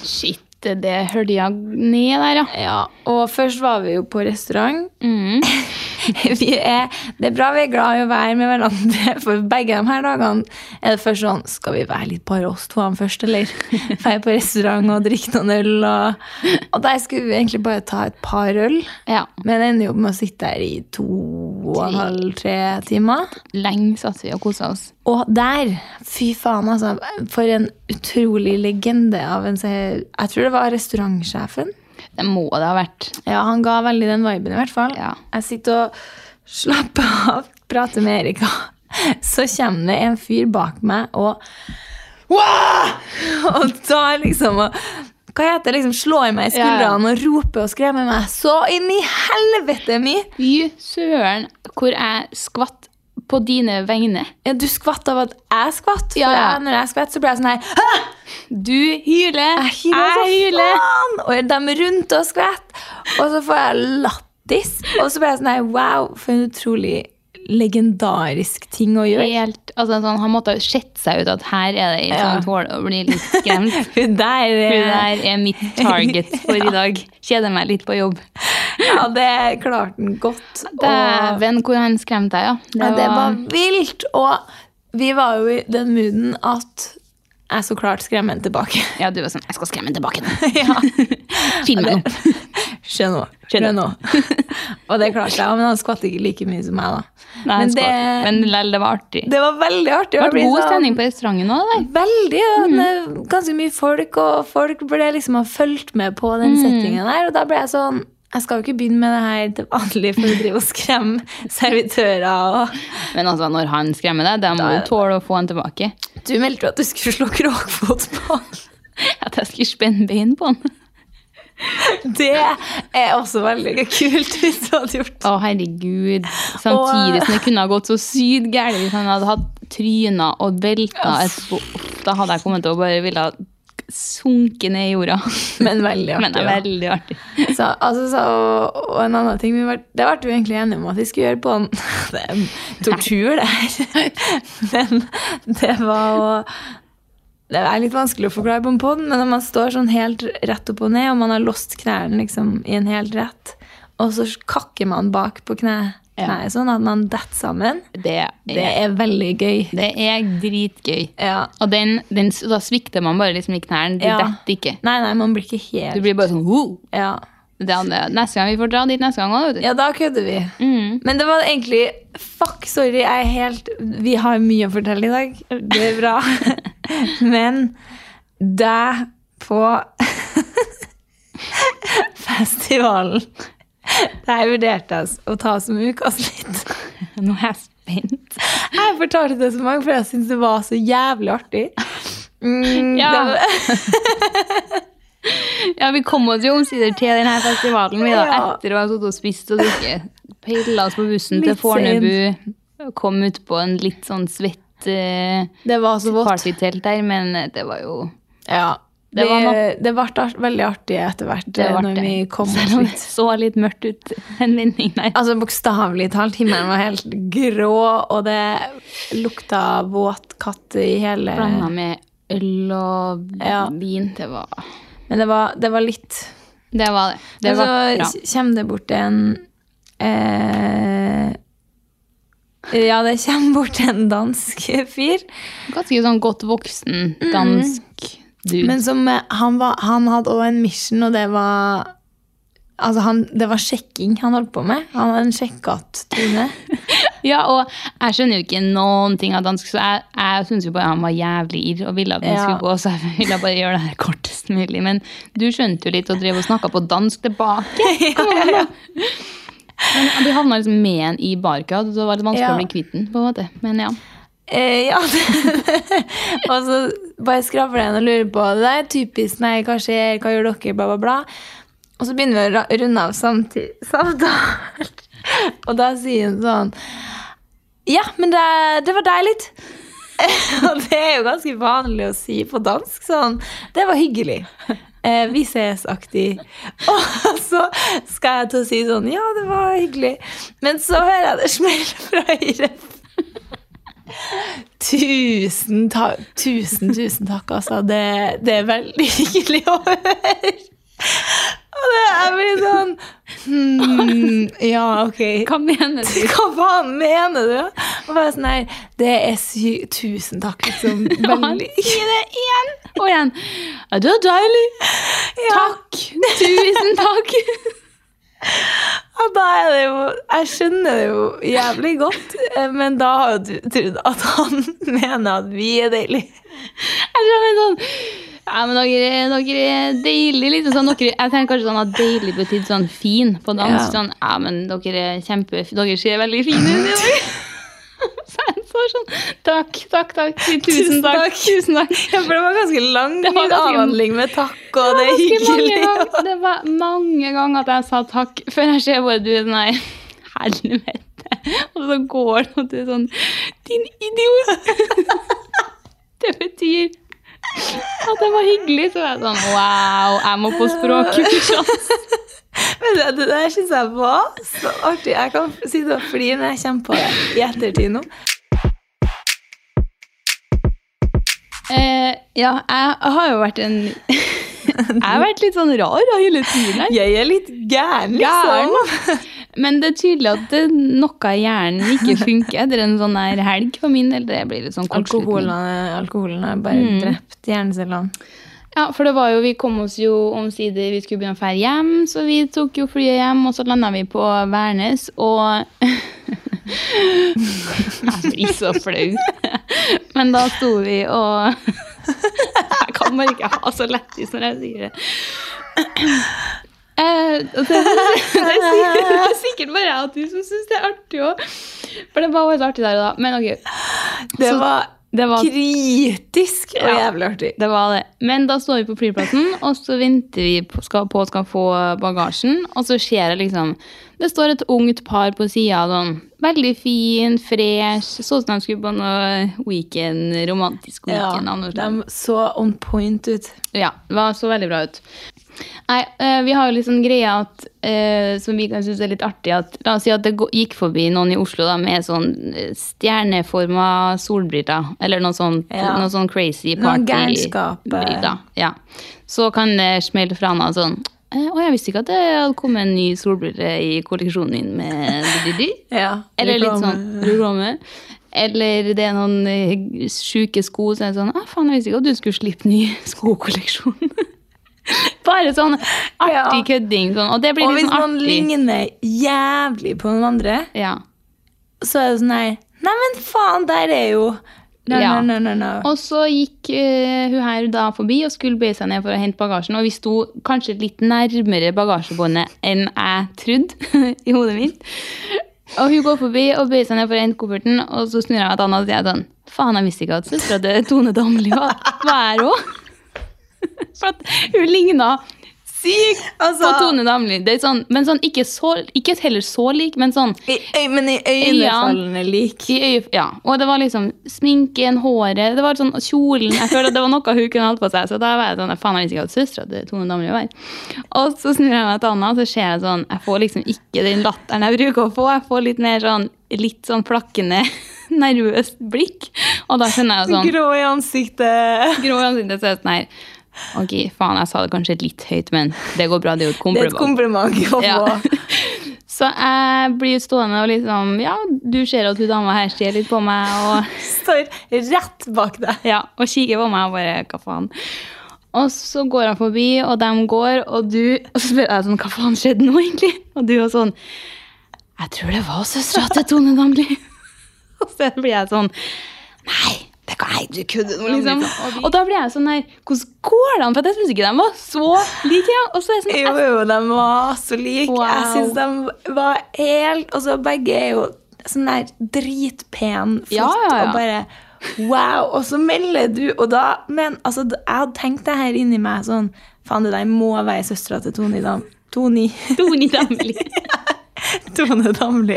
[SPEAKER 2] Shit, det hølja ned der, ja.
[SPEAKER 1] Ja, og først var vi jo på restaurant.
[SPEAKER 2] Mm.
[SPEAKER 1] vi er, det er bra vi er glad i å være med hverandre, for begge de her dagene er det først sånn Skal vi være litt bare oss to først, eller? Være på restaurant og drikke noen øl. Og, og der skulle vi egentlig bare ta et par øl,
[SPEAKER 2] ja.
[SPEAKER 1] men ender jo opp med å sitte der i to og en halv, tre timer.
[SPEAKER 2] Lenge satt vi og kosa oss.
[SPEAKER 1] Og der, fy faen, altså. For en utrolig legende av en se- Jeg tror det var restaurantsjefen.
[SPEAKER 2] Det må det ha vært.
[SPEAKER 1] Ja, han ga veldig den viben, i hvert fall.
[SPEAKER 2] Ja.
[SPEAKER 1] Jeg sitter og slapper av, prater med Erika. Så kommer det en fyr bak meg og Wah! Og tar liksom og Hva heter det? Liksom, slår meg i
[SPEAKER 2] Ja, ja.
[SPEAKER 1] skuldrene og roper og skremmer meg så inn i helvete mye!
[SPEAKER 2] Fy søren, hvor jeg skvatt på dine vegne.
[SPEAKER 1] Ja, du skvatt av at jeg skvatt. For
[SPEAKER 2] Ja, ja.
[SPEAKER 1] jeg, når jeg skvatt, så ble jeg sånn her Hæ?
[SPEAKER 2] Du hyler,
[SPEAKER 1] Jeg hyler så faen! Og de rundt og skvett. Og så får jeg lattis. Og så blir jeg sånn her, wow, for en utrolig legendarisk ting å gjøre.
[SPEAKER 2] Helt, altså, sånn, han måtte ha sett seg ut at her er det ei
[SPEAKER 1] Ja.
[SPEAKER 2] sånn tåle å bli litt skremt.
[SPEAKER 1] Hun der, eh,
[SPEAKER 2] Hun der er mitt target for i dag. Kjeder meg litt på jobb.
[SPEAKER 1] ja, det klarte han godt. og,
[SPEAKER 2] Dæven, hvor han skremte deg, ja. Det
[SPEAKER 1] ja, det var
[SPEAKER 2] var,
[SPEAKER 1] vilt. Og vi var jo i den mooden at jeg så klart skremmer han tilbake.
[SPEAKER 2] ja, du var sånn Jeg skal skremme han tilbake nå.
[SPEAKER 1] ja.
[SPEAKER 2] Film meg nå.
[SPEAKER 1] Skjønn nå.
[SPEAKER 2] Skjønn
[SPEAKER 1] nå. og det klarte jeg, men han skvatt ikke like mye som meg, da.
[SPEAKER 2] Nei,
[SPEAKER 1] Men
[SPEAKER 2] han skal.
[SPEAKER 1] det-
[SPEAKER 2] Men lell, det var artig. Det
[SPEAKER 1] Det Mm. var veldig artig. å
[SPEAKER 2] ble
[SPEAKER 1] bli
[SPEAKER 2] god
[SPEAKER 1] sånn-
[SPEAKER 2] stemning på restauranten òg, der.
[SPEAKER 1] Veldig. Og det er ganske mye folk, og folk burde liksom ha fulgt med på den settingen der. Og da ble jeg sånn Jeg skal jo ikke begynne med det her til vanlig for å drive og skremme servitører og
[SPEAKER 2] Men altså, når han skremmer deg, da må
[SPEAKER 1] Da er
[SPEAKER 2] du
[SPEAKER 1] det-
[SPEAKER 2] tåle å få han tilbake.
[SPEAKER 1] Du meldte jo at du skulle slå krokfot på han.
[SPEAKER 2] At jeg skulle spenne bein på han.
[SPEAKER 1] Det er også veldig kult hvis du hadde gjort
[SPEAKER 2] Å, herregud. Samtidig som det kunne ha gått så sykt gærent hvis han hadde hatt tryna og velta etterpå. Uff, Da hadde jeg kommet til å bare ville ha sunket ned i jorda.
[SPEAKER 1] Men veldig artig.
[SPEAKER 2] Men det er
[SPEAKER 1] da.
[SPEAKER 2] veldig artig.
[SPEAKER 1] Så, altså, så, og, og en annen ting vi var, Det ble vi egentlig enige om at vi skulle gjøre på en Det er tortur, det her. Men det var å Det er litt vanskelig å forklare på en pod, men når man står sånn helt rett opp og ned, og man har låst knærne liksom, i en helt rett, og så kakker man bak på kne,
[SPEAKER 2] Ja.
[SPEAKER 1] kneet sånn at man detter sammen,
[SPEAKER 2] Det er,
[SPEAKER 1] det er veldig gøy.
[SPEAKER 2] det er dritgøy.
[SPEAKER 1] Ja.
[SPEAKER 2] Og den, den, da svikter man bare liksom i knærne. Du
[SPEAKER 1] Ja.
[SPEAKER 2] detter ikke.
[SPEAKER 1] Nei, nei, man blir ikke
[SPEAKER 2] Du
[SPEAKER 1] helt
[SPEAKER 2] blir bare sånn wow.
[SPEAKER 1] Ja,
[SPEAKER 2] Det andre, Neste gang vi får dra dit neste gang òg, vet du.
[SPEAKER 1] ja da kødder vi.
[SPEAKER 2] Mm.
[SPEAKER 1] Men det var egentlig Fuck, sorry, jeg er helt Vi har mye å fortelle i dag. Det er bra. Men deg på festivalen Der vurderte jeg å ta som ukas litt.
[SPEAKER 2] Nå er jeg spent.
[SPEAKER 1] Jeg fortalte det så mange, for jeg syntes det var så jævlig artig. Mm, det var-
[SPEAKER 2] Ja. ja, vi kom oss jo omsider til denne festivalen, vi da,
[SPEAKER 1] Ja.
[SPEAKER 2] etter å ha sittet og spist og drukket. Pilla oss på bussen til
[SPEAKER 1] Litt
[SPEAKER 2] Fornebu. Kom ut på en litt sånn svett eh,
[SPEAKER 1] det var så vått.
[SPEAKER 2] partytelt der, men eh, det var jo
[SPEAKER 1] Ja.
[SPEAKER 2] Det
[SPEAKER 1] Det,
[SPEAKER 2] var
[SPEAKER 1] det ble art, veldig artig etter hvert eh,
[SPEAKER 2] Det ble
[SPEAKER 1] når
[SPEAKER 2] det.
[SPEAKER 1] vi kom oss
[SPEAKER 2] Selv om det
[SPEAKER 1] ut.
[SPEAKER 2] så litt mørkt ut en vending der.
[SPEAKER 1] Altså Bokstavelig talt, himmelen var helt grå, og det lukta våt katt i hele
[SPEAKER 2] Blanda med øl og
[SPEAKER 1] Ja.
[SPEAKER 2] vin. Det var
[SPEAKER 1] Men det var, det var litt
[SPEAKER 2] det. Var det. det
[SPEAKER 1] Men så
[SPEAKER 2] var bra.
[SPEAKER 1] kommer det bort en eh, Ja, det kommer bort en dansk fyr.
[SPEAKER 2] Ganske sånn godt voksen dansk dude.
[SPEAKER 1] Mhm. Men som, eh, han, var, han hadde også en mission, og det var Altså, han, det var sjekking han holdt på med. Han hadde en sjekkatt-tone.
[SPEAKER 2] Ja, og jeg skjønner jo ikke noen ting av dansk, så jeg, jeg syntes jo bare han var jævlig irr og ville at han
[SPEAKER 1] Ja.
[SPEAKER 2] skulle gå, så jeg ville bare gjøre det her kortest mulig. Men du skjønte jo litt og drev og snakka på dansk tilbake. Kom igjen, da! Men vi havna liksom med en i barkøa, så det var litt vanskelig
[SPEAKER 1] Ja.
[SPEAKER 2] å bli kvitt den. på en måte. Men ja.
[SPEAKER 1] Eh, ja, og så bare skravler han og lurer på det der. Typisk, nei, hva skjer, hva gjør dere, bla, bla, bla. Og så begynner vi å ra- runde av samti- samtalen. og da sier hun sånn Ja, men det, det var deilig. og det er jo ganske vanlig å si på dansk sånn Det var hyggelig. Eh, vi ses-aktig. Og så skal jeg til å si sånn Ja, det var hyggelig. Men så hører jeg det smelle fra høyre Tusen, ta tusen, tusen takk, altså. Det, det er veldig hyggelig å høre. Og det er blir sånn hmm, Ja, ok.
[SPEAKER 2] Hva mener du?
[SPEAKER 1] Hva faen mener du? Og bare sånn her Det er sy... Tusen takk, liksom.
[SPEAKER 2] Han
[SPEAKER 1] Veldig
[SPEAKER 2] sier det igjen og igjen. Ja, det var deilig.
[SPEAKER 1] Ja.
[SPEAKER 2] Takk. Tusen takk.
[SPEAKER 1] Ja, da er det jo Jeg skjønner det jo jævlig godt, eh, men da har jo du trodd at han mener at vi er deilige.
[SPEAKER 2] Jeg tror jeg er sånn ja, men dere, dere er deilige, liksom. Sånn, dere, jeg tenker kanskje sånn at deilig betydde sånn fin på
[SPEAKER 1] Ja.
[SPEAKER 2] dansk. Sånn, ja, men dere er kjempe... Dere ser veldig fine ut i dag. Så jeg så sånn Takk, takk, takk. Tusen
[SPEAKER 1] Tusen
[SPEAKER 2] takk.
[SPEAKER 1] takk.
[SPEAKER 2] Tusen takk.
[SPEAKER 1] Ja, for det var ganske lang
[SPEAKER 2] Det var ganske-
[SPEAKER 1] avhandling med takk, og det er
[SPEAKER 2] Ganske mange
[SPEAKER 1] hyggelig. og-
[SPEAKER 2] ganger, det var mange ganger at jeg sa takk, før jeg ser bare du er sånn her Helvete. Og så går det, og du er sånn Din idiot! Det betyr at det var hyggelig. Så jeg er sånn Wow, jeg må på språkkurs. ass.
[SPEAKER 1] Men det, det der syns jeg var så artig. Jeg kan sitte og flire når jeg kommer på det i ettertid nå.
[SPEAKER 2] Eh, ja, jeg har jo vært en Jeg har vært litt sånn rar da, hele tiden. her.
[SPEAKER 1] Jeg er litt gæren,
[SPEAKER 2] Gæren.
[SPEAKER 1] liksom.
[SPEAKER 2] Men det er tydelig at det, noe i hjernen ikke funker etter en sånn her helg for min del. Det blir litt sånn kortslutning.
[SPEAKER 1] Alkoholen, alkoholen har bare
[SPEAKER 2] Mm.
[SPEAKER 1] drept hjernecellene.
[SPEAKER 2] Ja, for det var jo, vi kom oss jo omsider, vi skulle begynne å fære hjem, så vi tok jo flyet hjem, og så landet vi på Værnes, og... Jeg blir så flau. Men da sto vi og... Jeg kan bare ikke ha så lettis når jeg sier det. Eh, og det, det, er sikkert, det er sikkert bare jeg og du som synes det er artig også. For det var også artig der og da. Men ok,
[SPEAKER 1] Det
[SPEAKER 2] Så-
[SPEAKER 1] var
[SPEAKER 2] det var
[SPEAKER 1] kritisk og
[SPEAKER 2] Ja.
[SPEAKER 1] jævlig artig.
[SPEAKER 2] det var det. Men da står vi på flyplassen, og så venter vi på skal, på skal få bagasjen. Og så ser jeg liksom Det står et ungt par på sida. Sånn, veldig fin, fresh. Så ut som de skulle på noe weekend, romantisk
[SPEAKER 1] Ja,
[SPEAKER 2] weekend. av noe slag.
[SPEAKER 1] de så on point ut.
[SPEAKER 2] Ja, det var så veldig bra ut. Nei, eh, vi har jo litt sånn greie at, eh, som vi kan synes er litt artig, at la oss si at det gå- gikk forbi noen i Oslo da, med sånn eh, stjerneforma solbriller, eller noe sånn,
[SPEAKER 1] Ja.
[SPEAKER 2] noe sånn crazy
[SPEAKER 1] Noen
[SPEAKER 2] partybriller.
[SPEAKER 1] gærenskap, eh.
[SPEAKER 2] Ja. Så kan det smelle fra henne sånn, eh, å jeg visste ikke at det hadde kommet en ny solbrille i kolleksjonen din med Didi.
[SPEAKER 1] Ja,
[SPEAKER 2] Eller litt
[SPEAKER 1] reklame.
[SPEAKER 2] sånn reklame. Eller det er noen eh, sjuke sko som er det sånn ah, faen, jeg visste ikke at du skulle slippe ny skokolleksjon. Bare sånn artig
[SPEAKER 1] Ja.
[SPEAKER 2] kødding. Sånn. Og det blir
[SPEAKER 1] Og
[SPEAKER 2] litt
[SPEAKER 1] hvis
[SPEAKER 2] sånn
[SPEAKER 1] man
[SPEAKER 2] artig.
[SPEAKER 1] ligner jævlig på noen andre,
[SPEAKER 2] Ja.
[SPEAKER 1] så er det sånn her Nei, men faen, der er jo No,
[SPEAKER 2] Ja.
[SPEAKER 1] no, no, no, no.
[SPEAKER 2] Og så gikk eh, hun her da forbi og skulle bøye seg ned for å hente bagasjen. Og vi sto kanskje litt nærmere bagasjebåndet enn jeg trodde i hodet mitt. Og hun går forbi og bøyer seg ned for å hente kofferten, og så snur jeg meg til Anna og sier sånn Faen, jeg visste ikke at søstera til Tone Damli var, var her òg. For at hun ligna sykt på
[SPEAKER 1] Altså-
[SPEAKER 2] Tone Damli. Det er sånn, men sånn, ikke, så, ikke heller så lik, men sånn
[SPEAKER 1] I, øy- men i øynefallene lik.
[SPEAKER 2] i øye, ja. Og det var liksom sminken, håret, det var sånn kjolen Jeg føler at det var noe hun kunne holdt på seg. Så da var jeg sånn Faen, jeg visste ikke at søstera til Tone Damli var her. Og så snur jeg meg til Anna, og så ser jeg sånn Jeg får liksom ikke den latteren jeg bruker å få. Jeg får litt mer sånn litt sånn flakkende, nervøst blikk. Og da skjønner jeg jo sånn
[SPEAKER 1] Grå i ansiktet.
[SPEAKER 2] Grå i ansiktet, så er jeg sånn her Ok, faen, jeg sa det kanskje litt høyt, men det går bra. Det er jo et
[SPEAKER 1] Det er et kompliment
[SPEAKER 2] kompliment.
[SPEAKER 1] å få.
[SPEAKER 2] Ja. Så jeg blir stående og liksom Ja, du ser at hun dama her ser litt på meg, og
[SPEAKER 1] Står rett bak deg.
[SPEAKER 2] Ja, og kikker på meg og bare Hva faen? Og så går han forbi, og de går, og du Og så spør jeg sånn Hva faen skjedde nå, egentlig? Og du var sånn Jeg tror det var søstera til Tone Damli. og så blir jeg sånn Nei! det kan- Nei, du kødder nå, liksom. Og da blir jeg sånn her Hvordan går det an? For jeg syns ikke de var så like. Ja. Og så er jeg sånn
[SPEAKER 1] Jo, jo, de var så like. Jeg
[SPEAKER 2] Wow.
[SPEAKER 1] syns de var helt Og så begge er jo sånn der dritpen, flott
[SPEAKER 2] Ja, ja, ja.
[SPEAKER 1] og bare Wow! Og så melder du, og da Men altså, jeg hadde tenkt det her inni meg sånn Faen, det der må være søstera til Tone Dam... Toni.
[SPEAKER 2] Tone Damli.
[SPEAKER 1] Tone Damli.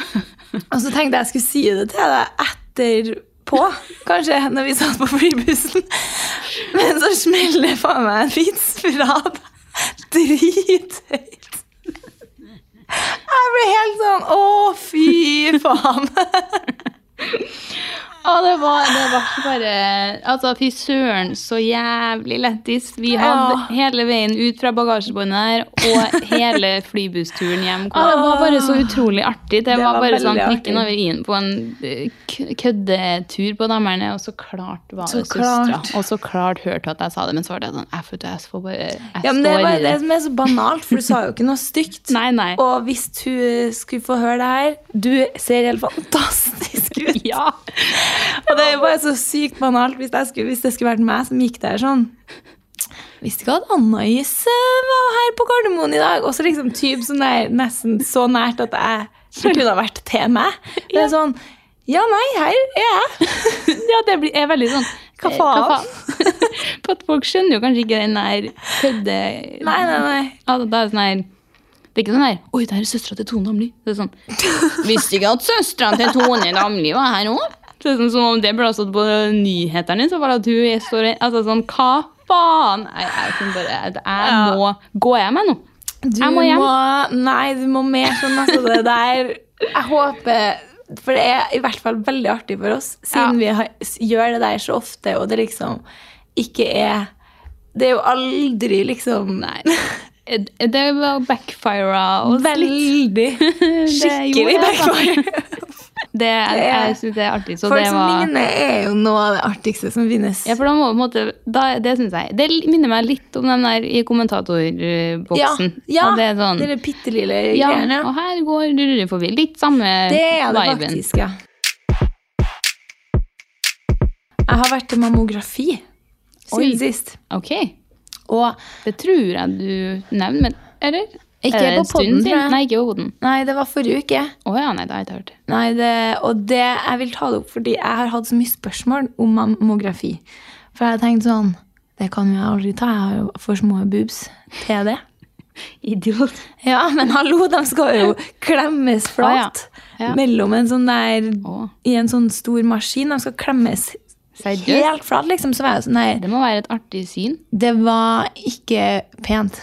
[SPEAKER 1] Og så tenkte jeg jeg skulle si det til deg etterpå, kanskje, når vi satt på flybussen. Men så smeller det faen meg en vits fra deg. Drithøyt. Jeg ble helt sånn Å, fy faen.
[SPEAKER 2] Ja, det var, det var ikke bare Altså, fy søren, så jævlig lettis. Vi hadde
[SPEAKER 1] Ja.
[SPEAKER 2] hele veien ut fra bagasjebåndet her og hele flybusturen hjem. Og det var bare så utrolig artig. Det, var,
[SPEAKER 1] Ah. var
[SPEAKER 2] bare sånn
[SPEAKER 1] veldig
[SPEAKER 2] prikken
[SPEAKER 1] artig.
[SPEAKER 2] over i-en på en eh, k- køddetur på Dammerne, og så klart var
[SPEAKER 1] Så
[SPEAKER 2] det søstera.
[SPEAKER 1] klart.
[SPEAKER 2] Og så klart hørte at jeg sa det, men så var det sånn Jeg, får- jeg, får bare, jeg
[SPEAKER 1] Ja, men Det
[SPEAKER 2] står
[SPEAKER 1] er
[SPEAKER 2] i
[SPEAKER 1] bare det
[SPEAKER 2] det.
[SPEAKER 1] som er så banalt, for du sa jo ikke noe stygt.
[SPEAKER 2] Nei, nei.
[SPEAKER 1] Og hvis hun skulle få høre det her Du ser helt fantastisk ut.
[SPEAKER 2] Ja.
[SPEAKER 1] Og det er jo bare så sykt banalt hvis, jeg skulle, hvis det skulle vært meg som gikk der sånn. Visste ikke at Anna-Is var her på Gardermoen i dag. Og så liksom typ sånn der, nesten så nært at jeg det kunne ha vært til meg. Det er sånn Ja, nei, her er jeg.
[SPEAKER 2] ja, det blir, er veldig sånn
[SPEAKER 1] Hva
[SPEAKER 2] eh,
[SPEAKER 1] faen?
[SPEAKER 2] faen? For at folk skjønner jo kanskje ikke den der kødde...
[SPEAKER 1] Nei, nei, nei.
[SPEAKER 2] Altså, det er sånn her Det er ikke sånn her Oi, det her er søstera til Tone Damli. Det er sånn Visste ikke at søstera til Tone Damli var her òg. Det er sånn som om det burde ha stått på nyhetene. Så var det at hun er står Altså sånn Hva faen? Jeg, jeg, kan bare, jeg, jeg
[SPEAKER 1] Ja.
[SPEAKER 2] må Går jeg meg nå?
[SPEAKER 1] Du
[SPEAKER 2] Jeg må hjem.
[SPEAKER 1] nei, du må mer sånn altså det der. Jeg håper For det er i hvert fall veldig artig for oss, siden vi har, s- gjør det der så ofte, og det liksom ikke er Det er jo aldri liksom
[SPEAKER 2] Nei. Eh, Det var backfira oss litt.
[SPEAKER 1] Veldig. Skikkelig
[SPEAKER 2] gjorde det, da.
[SPEAKER 1] backfire.
[SPEAKER 2] Det, jeg jeg syns det er artig. Så
[SPEAKER 1] Folk
[SPEAKER 2] det
[SPEAKER 1] som
[SPEAKER 2] var
[SPEAKER 1] ligner, er jo noe av det artigste som finnes.
[SPEAKER 2] Ja, for da må på en måte, da, Det synes jeg, det minner meg litt om den der i kommentatorboksen.
[SPEAKER 1] ja,
[SPEAKER 2] Og det er sånn,
[SPEAKER 1] det er det pittelille
[SPEAKER 2] Ja,
[SPEAKER 1] greiene.
[SPEAKER 2] og her går Rurre forbi. Litt samme
[SPEAKER 1] Det er det
[SPEAKER 2] viben.
[SPEAKER 1] faktisk, ja. Jeg har vært til mammografi
[SPEAKER 2] Oi.
[SPEAKER 1] siden sist.
[SPEAKER 2] Ok,
[SPEAKER 1] Og
[SPEAKER 2] det tror jeg du nevner, men eller?
[SPEAKER 1] Ikke
[SPEAKER 2] Er det
[SPEAKER 1] på
[SPEAKER 2] en stund
[SPEAKER 1] podden,
[SPEAKER 2] siden?
[SPEAKER 1] tror jeg.
[SPEAKER 2] Nei, ikke på podden.
[SPEAKER 1] nei, det var forrige uke.
[SPEAKER 2] Å ja, nei, det har jeg ikke hørt.
[SPEAKER 1] Nei, det, og det, jeg vil ta det opp fordi jeg har hatt så mye spørsmål om mammografi. For jeg har tenkt sånn Det kan jo jeg aldri ta. Jeg har jo for små boobs til det.
[SPEAKER 2] Idiot.
[SPEAKER 1] Ja, men hallo, de skal jo klemmes flat
[SPEAKER 2] ja. Ja.
[SPEAKER 1] mellom en sånn der
[SPEAKER 2] Å.
[SPEAKER 1] I en sånn stor maskin. De skal klemmes
[SPEAKER 2] Seriøst?
[SPEAKER 1] helt flat, liksom. Så var jeg sånn Nei,
[SPEAKER 2] Det må være et artig syn.
[SPEAKER 1] det var ikke pent.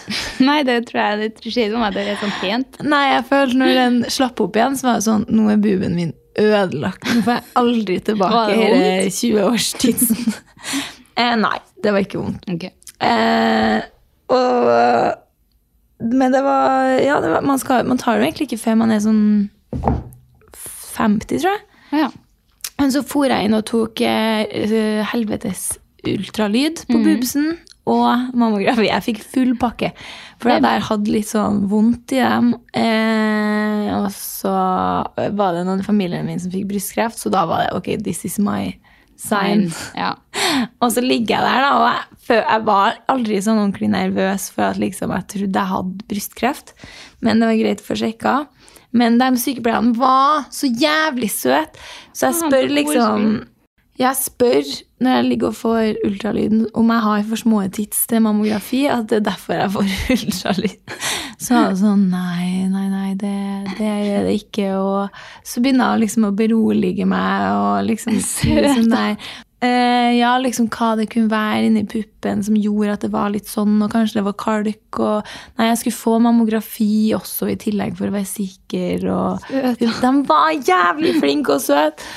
[SPEAKER 2] Nei, det tror jeg det tror ikke meg. Det er sånn pent.
[SPEAKER 1] Nei, jeg følte når den slapp opp igjen, så var det sånn Nå er buben min ødelagt. Nå får jeg aldri
[SPEAKER 2] Var
[SPEAKER 1] tilbake
[SPEAKER 2] det
[SPEAKER 1] hele 20-årstidsen. eh, nei, det var ikke vondt.
[SPEAKER 2] Ok.
[SPEAKER 1] Eh, og eh, Men det var Ja, det var, man, skal, man tar det jo egentlig ikke før man er sånn 50, tror jeg.
[SPEAKER 2] Å ja.
[SPEAKER 1] Men så for jeg inn og tok eh, helvetes ultralyd på bubsen og mammografi. Jeg fikk full pakke. For jeg der hadde litt sånn vondt i dem. Eh, og så var det noen i familien min som fikk brystkreft, så da var det ok, this is my sign.
[SPEAKER 2] Ja.
[SPEAKER 1] Og så ligger jeg der, da, og jeg, fø- jeg var aldri sånn ordentlig nervøs for at liksom, jeg trodde jeg hadde brystkreft. Men det var greit å få sjekka. Men de sykepleierne var så jævlig søte. Så jeg
[SPEAKER 2] Faen,
[SPEAKER 1] spør
[SPEAKER 2] så
[SPEAKER 1] liksom
[SPEAKER 2] koselig.
[SPEAKER 1] Jeg spør når jeg ligger og får ultralyden, om jeg har for små tits til mammografi, at det er derfor jeg får ultralyd. Så er det sånn Nei, nei, nei, det, det er det ikke. Og så begynner jeg liksom å berolige meg og liksom si
[SPEAKER 2] Søt,
[SPEAKER 1] sånn der eh, Ja, liksom hva det kunne være inni puppen som gjorde at det var litt sånn, og kanskje det var kalk, og Nei, jeg skulle få mammografi også i tillegg for å være sikker, og
[SPEAKER 2] Søt,
[SPEAKER 1] De var jævlig flinke og søte!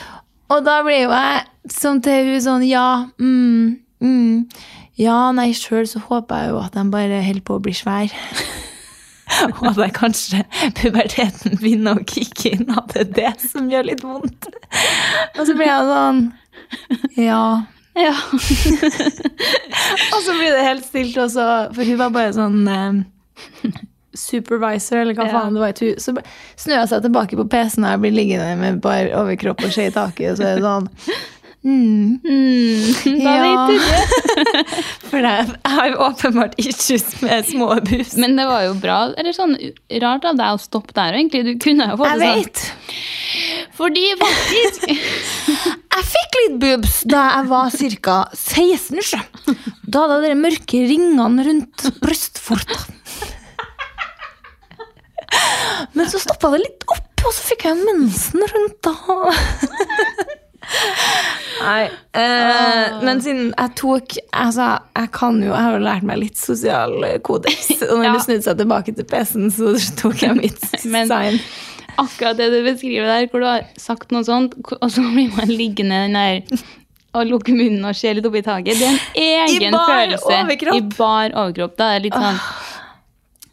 [SPEAKER 1] Og da ble jo jeg sånn til hun sånn Ja, mm, mm. Ja, nei, sjøl så håper jeg jo at de bare holder på å bli svær. Og at jeg kanskje puberteten begynner å kicke inn, at det er det som gjør litt vondt. Og så blir jeg sånn Ja.
[SPEAKER 2] Ja.
[SPEAKER 1] Og så blir det helt stilt, og så For hun var bare sånn eh, Supervisor, eller hva
[SPEAKER 2] Ja.
[SPEAKER 1] faen det var. i tu- Så b- snur jeg seg tilbake på PC-en, og jeg blir liggende med bar overkropp og skje i taket, og så er det sånn mm.
[SPEAKER 2] Mm, da
[SPEAKER 1] Ja.
[SPEAKER 2] vet du det.
[SPEAKER 1] For det- jeg har jo åpenbart issues med små bus.
[SPEAKER 2] Men det var jo bra. Eller sånn rart av deg å stoppe der, egentlig. Du kunne jo fått
[SPEAKER 1] Jeg
[SPEAKER 2] det sånn.
[SPEAKER 1] vet!
[SPEAKER 2] Fordi faktisk
[SPEAKER 1] Jeg fikk litt boobs da jeg var ca. 16. sjø. Da hadde jeg de mørke ringene rundt brystforta. Men så stoppa det litt opp, og så fikk jeg mensen rundt da. Nei. Eh, men siden jeg tok altså, Jeg kan jo, jeg har jo lært meg litt sosial kodeks. Og når
[SPEAKER 2] Ja.
[SPEAKER 1] du snudde seg tilbake til PC-en, så tok jeg mitt
[SPEAKER 2] Men-
[SPEAKER 1] sign.
[SPEAKER 2] akkurat det du beskriver der, hvor du har sagt noe sånt, og så blir man liggende den der og lukke munnen og se litt opp i taket. Det er en
[SPEAKER 1] I
[SPEAKER 2] egen
[SPEAKER 1] bar
[SPEAKER 2] følelse.
[SPEAKER 1] overkropp. Ah.
[SPEAKER 2] I bar overkropp. Da er det litt sånn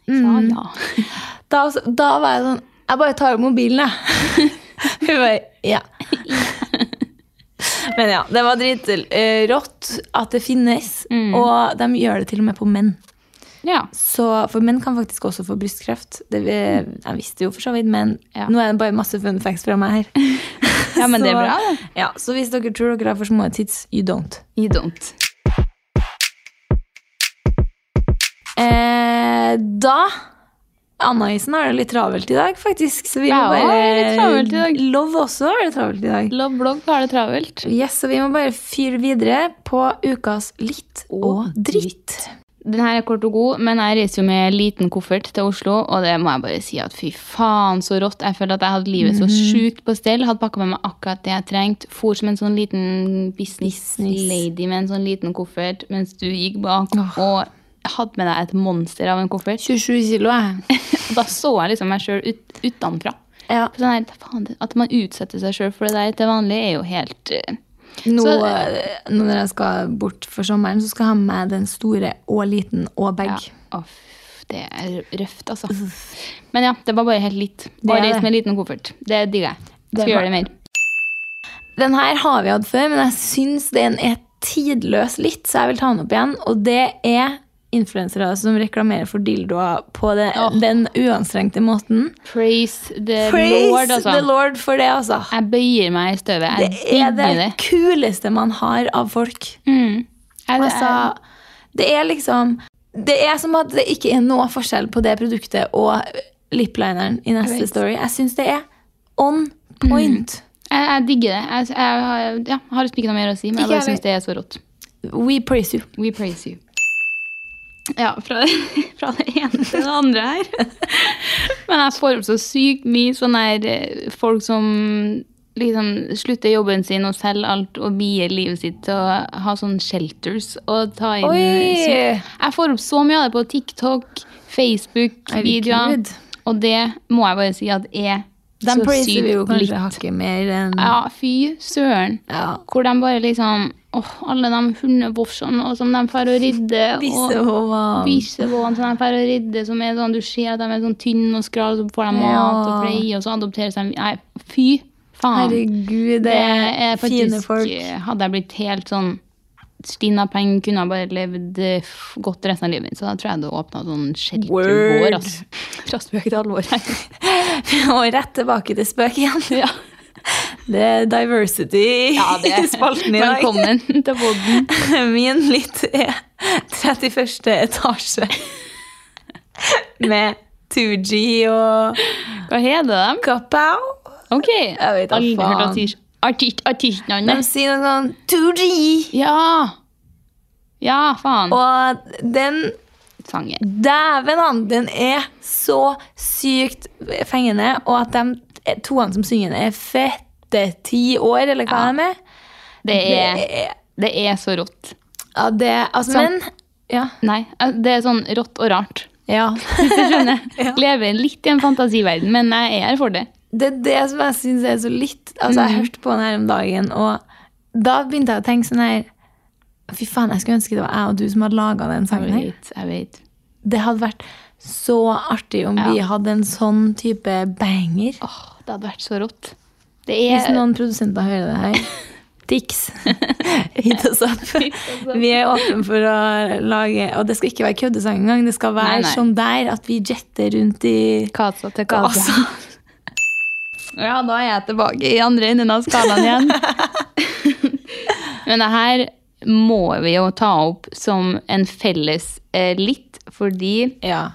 [SPEAKER 1] Mm.
[SPEAKER 2] Ja, ja.
[SPEAKER 1] da, da var jeg sånn Jeg bare tar opp mobilen, jeg. Hun bare Ja. Men ja, det var dritrått at det finnes.
[SPEAKER 2] Mm.
[SPEAKER 1] Og de gjør det til og med på menn.
[SPEAKER 2] ja.
[SPEAKER 1] Så, for menn kan faktisk også få brystkreft. Det, vi- jeg visste jo for så vidt, men
[SPEAKER 2] Ja.
[SPEAKER 1] nå er det bare masse fun facts fra meg her.
[SPEAKER 2] Ja, men det er
[SPEAKER 1] Så-
[SPEAKER 2] bra, det.
[SPEAKER 1] Ja, så hvis dere tror dere har for små tits, you don't.
[SPEAKER 2] You don't.
[SPEAKER 1] Eh, da Anna-isen har det litt travelt i dag, faktisk. Så vi må
[SPEAKER 2] Ja, det er litt
[SPEAKER 1] bare
[SPEAKER 2] travelt i dag.
[SPEAKER 1] Love også har det travelt i dag.
[SPEAKER 2] Love blogg har det travelt.
[SPEAKER 1] Yes, så vi må bare fyre videre på ukas litt og dritt.
[SPEAKER 2] Den her er kort og god, men jeg reiser jo med liten koffert til Oslo, og det må jeg bare si at fy faen, så rått. Jeg følte at jeg hadde livet så
[SPEAKER 1] Mhm.
[SPEAKER 2] sjukt på stell, hadde pakka med meg akkurat det jeg trengte, for som en sånn liten business,
[SPEAKER 1] Business.
[SPEAKER 2] lady med en sånn liten koffert, mens du gikk bak
[SPEAKER 1] Åh.
[SPEAKER 2] og hadde med deg et monster av en koffert.
[SPEAKER 1] 27 kilo, jeg.
[SPEAKER 2] Og da så jeg liksom meg sjøl ut, utenfra.
[SPEAKER 1] Ja,
[SPEAKER 2] På Sånn her, faen, det- at man utsetter seg sjøl for det der til vanlig, er jo helt eh,
[SPEAKER 1] nå,
[SPEAKER 2] Så-
[SPEAKER 1] eh, nå når jeg skal bort for sommeren, så skal jeg ha med meg den store og liten og bag.
[SPEAKER 2] Ja. Å, f- det er røft, altså. Men ja, det var bare helt litt.
[SPEAKER 1] er
[SPEAKER 2] Å reise
[SPEAKER 1] det.
[SPEAKER 2] med liten koffert. Det digger jeg.
[SPEAKER 1] Det
[SPEAKER 2] Skal
[SPEAKER 1] er bra.
[SPEAKER 2] gjøre det mer.
[SPEAKER 1] Den her har vi hatt før, men jeg syns den er tidløs litt, så jeg vil ta den opp igjen. Og det er influensere som reklamerer for dildoer på det,
[SPEAKER 2] Åh.
[SPEAKER 1] den uanstrengte måten.
[SPEAKER 2] Praise the
[SPEAKER 1] Praise
[SPEAKER 2] Lord, altså.
[SPEAKER 1] the Lord for det, altså.
[SPEAKER 2] Jeg bøyer meg i støvet. Jeg
[SPEAKER 1] Det er
[SPEAKER 2] digger
[SPEAKER 1] det
[SPEAKER 2] det.
[SPEAKER 1] kuleste man har av folk.
[SPEAKER 2] Mm. Jeg,
[SPEAKER 1] Altså, det er liksom Det er som at det ikke er noe forskjell på det produktet og liplineren i neste
[SPEAKER 2] Jeg vet.
[SPEAKER 1] story. Jeg syns det er on point.
[SPEAKER 2] jeg, jeg digger det. Jeg, jeg, har- ja, har liksom ikke noe mer å si, men
[SPEAKER 1] Ikke
[SPEAKER 2] jeg bare
[SPEAKER 1] jeg
[SPEAKER 2] syns det er så rått.
[SPEAKER 1] We praise you.
[SPEAKER 2] We praise you. Ja, fra, fra det ene til det andre her. Men jeg får opp så sykt mye sånn her eh, folk som liksom slutter jobben sin og selger alt og bier livet sitt til å ha sånn shelters og ta inn
[SPEAKER 1] Oi!
[SPEAKER 2] Jeg får opp så mye av det på TikTok, Facebook-videoer,
[SPEAKER 1] Herregud.
[SPEAKER 2] og det må jeg bare si at er
[SPEAKER 1] Den
[SPEAKER 2] så
[SPEAKER 1] praiser vi jo
[SPEAKER 2] sykt
[SPEAKER 1] kanskje
[SPEAKER 2] litt.
[SPEAKER 1] hakket mer enn
[SPEAKER 2] Ja, fy søren.
[SPEAKER 1] ja.
[SPEAKER 2] Hvor de bare liksom Åh, alle de hundebofsene og som de får å rydde.
[SPEAKER 1] Visse
[SPEAKER 2] og
[SPEAKER 1] hova.
[SPEAKER 2] Bikkjevåen som de får å rydde, som er sånn, du ser at de er sånn tynne og skral, så får de mat og
[SPEAKER 1] Ja.
[SPEAKER 2] pleie, og så adopteres de Nei, fy faen.
[SPEAKER 1] Herregud, det
[SPEAKER 2] er
[SPEAKER 1] er fine
[SPEAKER 2] faktisk-
[SPEAKER 1] folk.
[SPEAKER 2] Hadde jeg blitt helt sånn stinna peng, kunne jeg bare levd eh, f- godt resten av livet mitt. Så da tror jeg det åpna sånn
[SPEAKER 1] Word.
[SPEAKER 2] sheltergård, ass. Fra spøk til alvor.
[SPEAKER 1] Og rett tilbake til spøk igjen.
[SPEAKER 2] ja.
[SPEAKER 1] Det er diversity
[SPEAKER 2] ja, det
[SPEAKER 1] i spalten i dag.
[SPEAKER 2] Velkommen til podden.
[SPEAKER 1] Min litt er 31. etasje. Med 2G og
[SPEAKER 2] Hva heter de?
[SPEAKER 1] Kapow.
[SPEAKER 2] Ok.
[SPEAKER 1] Jeg vet da
[SPEAKER 2] Aldri hørt
[SPEAKER 1] faen.
[SPEAKER 2] artist- artist-
[SPEAKER 1] De
[SPEAKER 2] artistnavnet.
[SPEAKER 1] sier noe sånn 2G!
[SPEAKER 2] Ja! Ja, faen.
[SPEAKER 1] Og den
[SPEAKER 2] Sangen.
[SPEAKER 1] Dæven, han! Den er så sykt fengende. Og at de toene som synger den, er fette ti år, eller hva de
[SPEAKER 2] Ja.
[SPEAKER 1] er.
[SPEAKER 2] Det er,
[SPEAKER 1] Det er-
[SPEAKER 2] det er så rått.
[SPEAKER 1] Ja, det Altså, men
[SPEAKER 2] Sånn.
[SPEAKER 1] Ja.
[SPEAKER 2] Nei, al- det er sånn rått og rart.
[SPEAKER 1] ja.
[SPEAKER 2] Hvis du skjønner. Lever litt i en fantasiverden, men jeg er her for det.
[SPEAKER 1] Det er det som jeg syns er så litt Altså,
[SPEAKER 2] Mhm.
[SPEAKER 1] jeg hørte på den her om dagen, og da begynte jeg å tenke sånn her Fy faen, jeg skulle ønske det var jeg og du som hadde laga den sangen her.
[SPEAKER 2] Jeg vet, jeg vet.
[SPEAKER 1] Det hadde vært så artig om vi hadde en sånn type banger.
[SPEAKER 2] Åh, det hadde vært så rått. Det
[SPEAKER 1] Hvis
[SPEAKER 2] er
[SPEAKER 1] noen produsenter hører det her Dix. Hit oss opp. Vi er åpne for å lage Og det skal ikke være køddesang engang. Det skal være
[SPEAKER 2] Nei, nei.
[SPEAKER 1] sånn der at vi jetter rundt i
[SPEAKER 2] Kasa til
[SPEAKER 1] kassa.
[SPEAKER 2] kasa. Ja, da er jeg tilbake i andre enden av skalaen igjen. Men det her må vi jo ta opp som en felles eh, litt, fordi
[SPEAKER 1] Ja.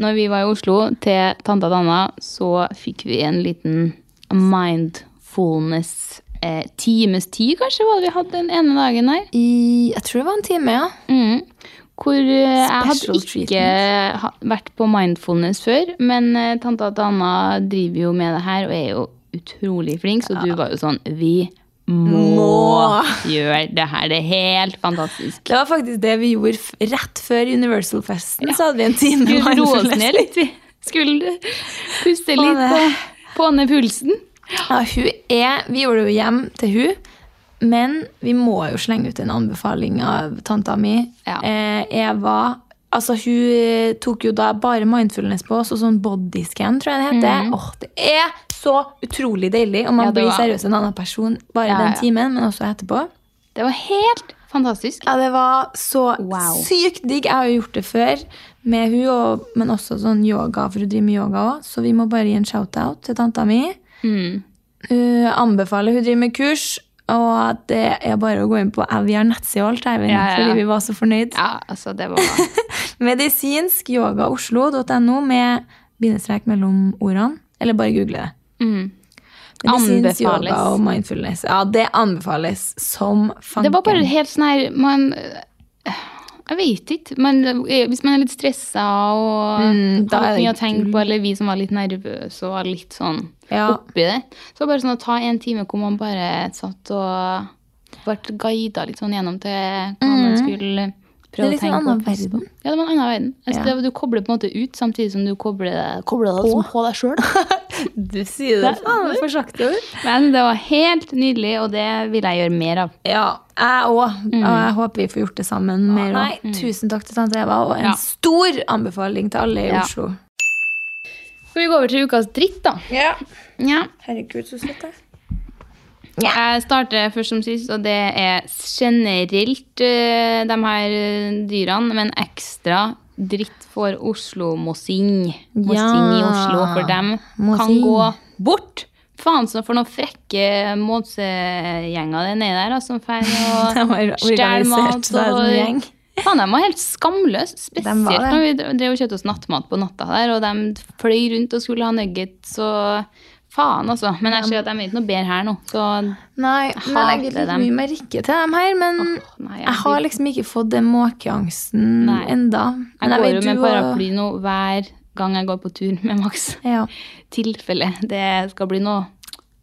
[SPEAKER 2] når vi var i Oslo til tanta Danna, så fikk vi en liten mindfulness eh, times tid, kanskje, var det vi hadde den ene dagen her.
[SPEAKER 1] I Jeg tror det var en time, ja.
[SPEAKER 2] Mm. Hvor eh, jeg hadde
[SPEAKER 1] Special
[SPEAKER 2] ikke ha- vært på mindfulness før, men eh, tanta Danna driver jo med det her og er jo utrolig flink, så du var jo sånn Vi må
[SPEAKER 1] Må.
[SPEAKER 2] gjøre det her. Det er helt fantastisk.
[SPEAKER 1] Det var faktisk det vi gjorde f- rett før Universal-festen. Så hadde vi en time
[SPEAKER 2] Skulle roe oss
[SPEAKER 1] mindfulness.
[SPEAKER 2] ned litt. vi. Skulle puste
[SPEAKER 1] Få
[SPEAKER 2] litt
[SPEAKER 1] ned.
[SPEAKER 2] og få ned pulsen.
[SPEAKER 1] Ja, hun er, vi gjorde det jo hjem til hun, men vi må jo slenge ut en anbefaling av tanta mi.
[SPEAKER 2] Ja.
[SPEAKER 1] Eh, Eva, altså hun eh, tok jo da bare mindfulness på oss, og sånn bodyscan, tror jeg det heter. Åh, det er så utrolig deilig, og man
[SPEAKER 2] Mhm. Ja, det
[SPEAKER 1] blir
[SPEAKER 2] var-
[SPEAKER 1] seriøst en annen person bare
[SPEAKER 2] Ja,
[SPEAKER 1] den
[SPEAKER 2] ja.
[SPEAKER 1] timen, men også etterpå.
[SPEAKER 2] Det var helt fantastisk.
[SPEAKER 1] Ja, det var så
[SPEAKER 2] Wow.
[SPEAKER 1] sykt digg. Jeg har jo gjort det før med hun, og, men også sånn yoga, for hun driver med yoga òg. Så vi må bare gi en shout-out til tanta mi. Mm. Hun anbefaler hun driver med kurs, og at det er bare å gå inn på ja, Vi har nettside og alt, Eivind,
[SPEAKER 2] Ja, ja, ja.
[SPEAKER 1] fordi vi var så fornøyd.
[SPEAKER 2] Ja, altså, det var
[SPEAKER 1] Medisinskyogaoslo.no med bindestrek mellom ordene. Eller bare google det.
[SPEAKER 2] mm.
[SPEAKER 1] Medisinsk
[SPEAKER 2] Anbefales.
[SPEAKER 1] yoga og mindfulness. Ja, det anbefales som fanken.
[SPEAKER 2] Det var bare helt sånn her Man Jeg vet ikke. Man, eh, hvis man er litt stressa og
[SPEAKER 1] Mm, da er
[SPEAKER 2] har litt
[SPEAKER 1] det
[SPEAKER 2] mye å tenke på, eller vi som var litt nervøse og var litt sånn
[SPEAKER 1] Ja.
[SPEAKER 2] oppi det, så var det bare sånn å ta en time hvor man bare satt og ble guida litt sånn gjennom til hva man skulle
[SPEAKER 1] Mm. Det er
[SPEAKER 2] prøve å
[SPEAKER 1] litt en
[SPEAKER 2] tenke
[SPEAKER 1] annen
[SPEAKER 2] på.
[SPEAKER 1] verden.
[SPEAKER 2] Ja, det var en annen verden. Altså,
[SPEAKER 1] Ja.
[SPEAKER 2] det var- du kobler på en måte ut samtidig som du kobler deg, kobler deg liksom på deg sjøl.
[SPEAKER 1] Du sier det faen meg for sakte ord.
[SPEAKER 2] Men det var helt nydelig, og det vil jeg gjøre mer av.
[SPEAKER 1] Ja, jeg òg.
[SPEAKER 2] Mm.
[SPEAKER 1] Og jeg håper vi får gjort det sammen mer òg. Tusen takk til tante Eva, og en
[SPEAKER 2] Ja.
[SPEAKER 1] stor anbefaling til alle i
[SPEAKER 2] Ja.
[SPEAKER 1] Oslo.
[SPEAKER 2] Skal vi gå over til ukas dritt, da?
[SPEAKER 1] Ja.
[SPEAKER 2] Ja.
[SPEAKER 1] Herregud, så søtt, jeg.
[SPEAKER 2] Jeg starter først som sist, og det er generelt eh, de her eh, dyrene, men ekstra dritt for Oslo-mossing. Mossing i
[SPEAKER 1] Ja.
[SPEAKER 2] Oslo, for dem kan
[SPEAKER 1] Mossing.
[SPEAKER 2] gå bort. Faen så for noen frekke måsegjenger det er nedi der, altså, som feier
[SPEAKER 1] De har
[SPEAKER 2] og stjeler
[SPEAKER 1] organisert
[SPEAKER 2] mat.
[SPEAKER 1] seg som gjeng.
[SPEAKER 2] Og, faen, de var helt skamløse.
[SPEAKER 1] De
[SPEAKER 2] Spesielt
[SPEAKER 1] var det.
[SPEAKER 2] når vi drev og kjøpte oss nattmat på natta der, og de fløy rundt og skulle ha nuggets og Faen, altså. Men jeg ser at de er ikke noe bedre her nå, så
[SPEAKER 1] Nei, men jeg
[SPEAKER 2] hater
[SPEAKER 1] gir litt
[SPEAKER 2] dem.
[SPEAKER 1] mye merke til dem her, men
[SPEAKER 2] Nei, jeg,
[SPEAKER 1] Mm, jeg har liksom ikke fått den måkeangsten
[SPEAKER 2] Nei.
[SPEAKER 1] enda. Men
[SPEAKER 2] jeg går jo
[SPEAKER 1] vet
[SPEAKER 2] med
[SPEAKER 1] du og-
[SPEAKER 2] paraply nå hver gang jeg går på tur med Max.
[SPEAKER 1] Ja.
[SPEAKER 2] Tilfelle det skal bli noe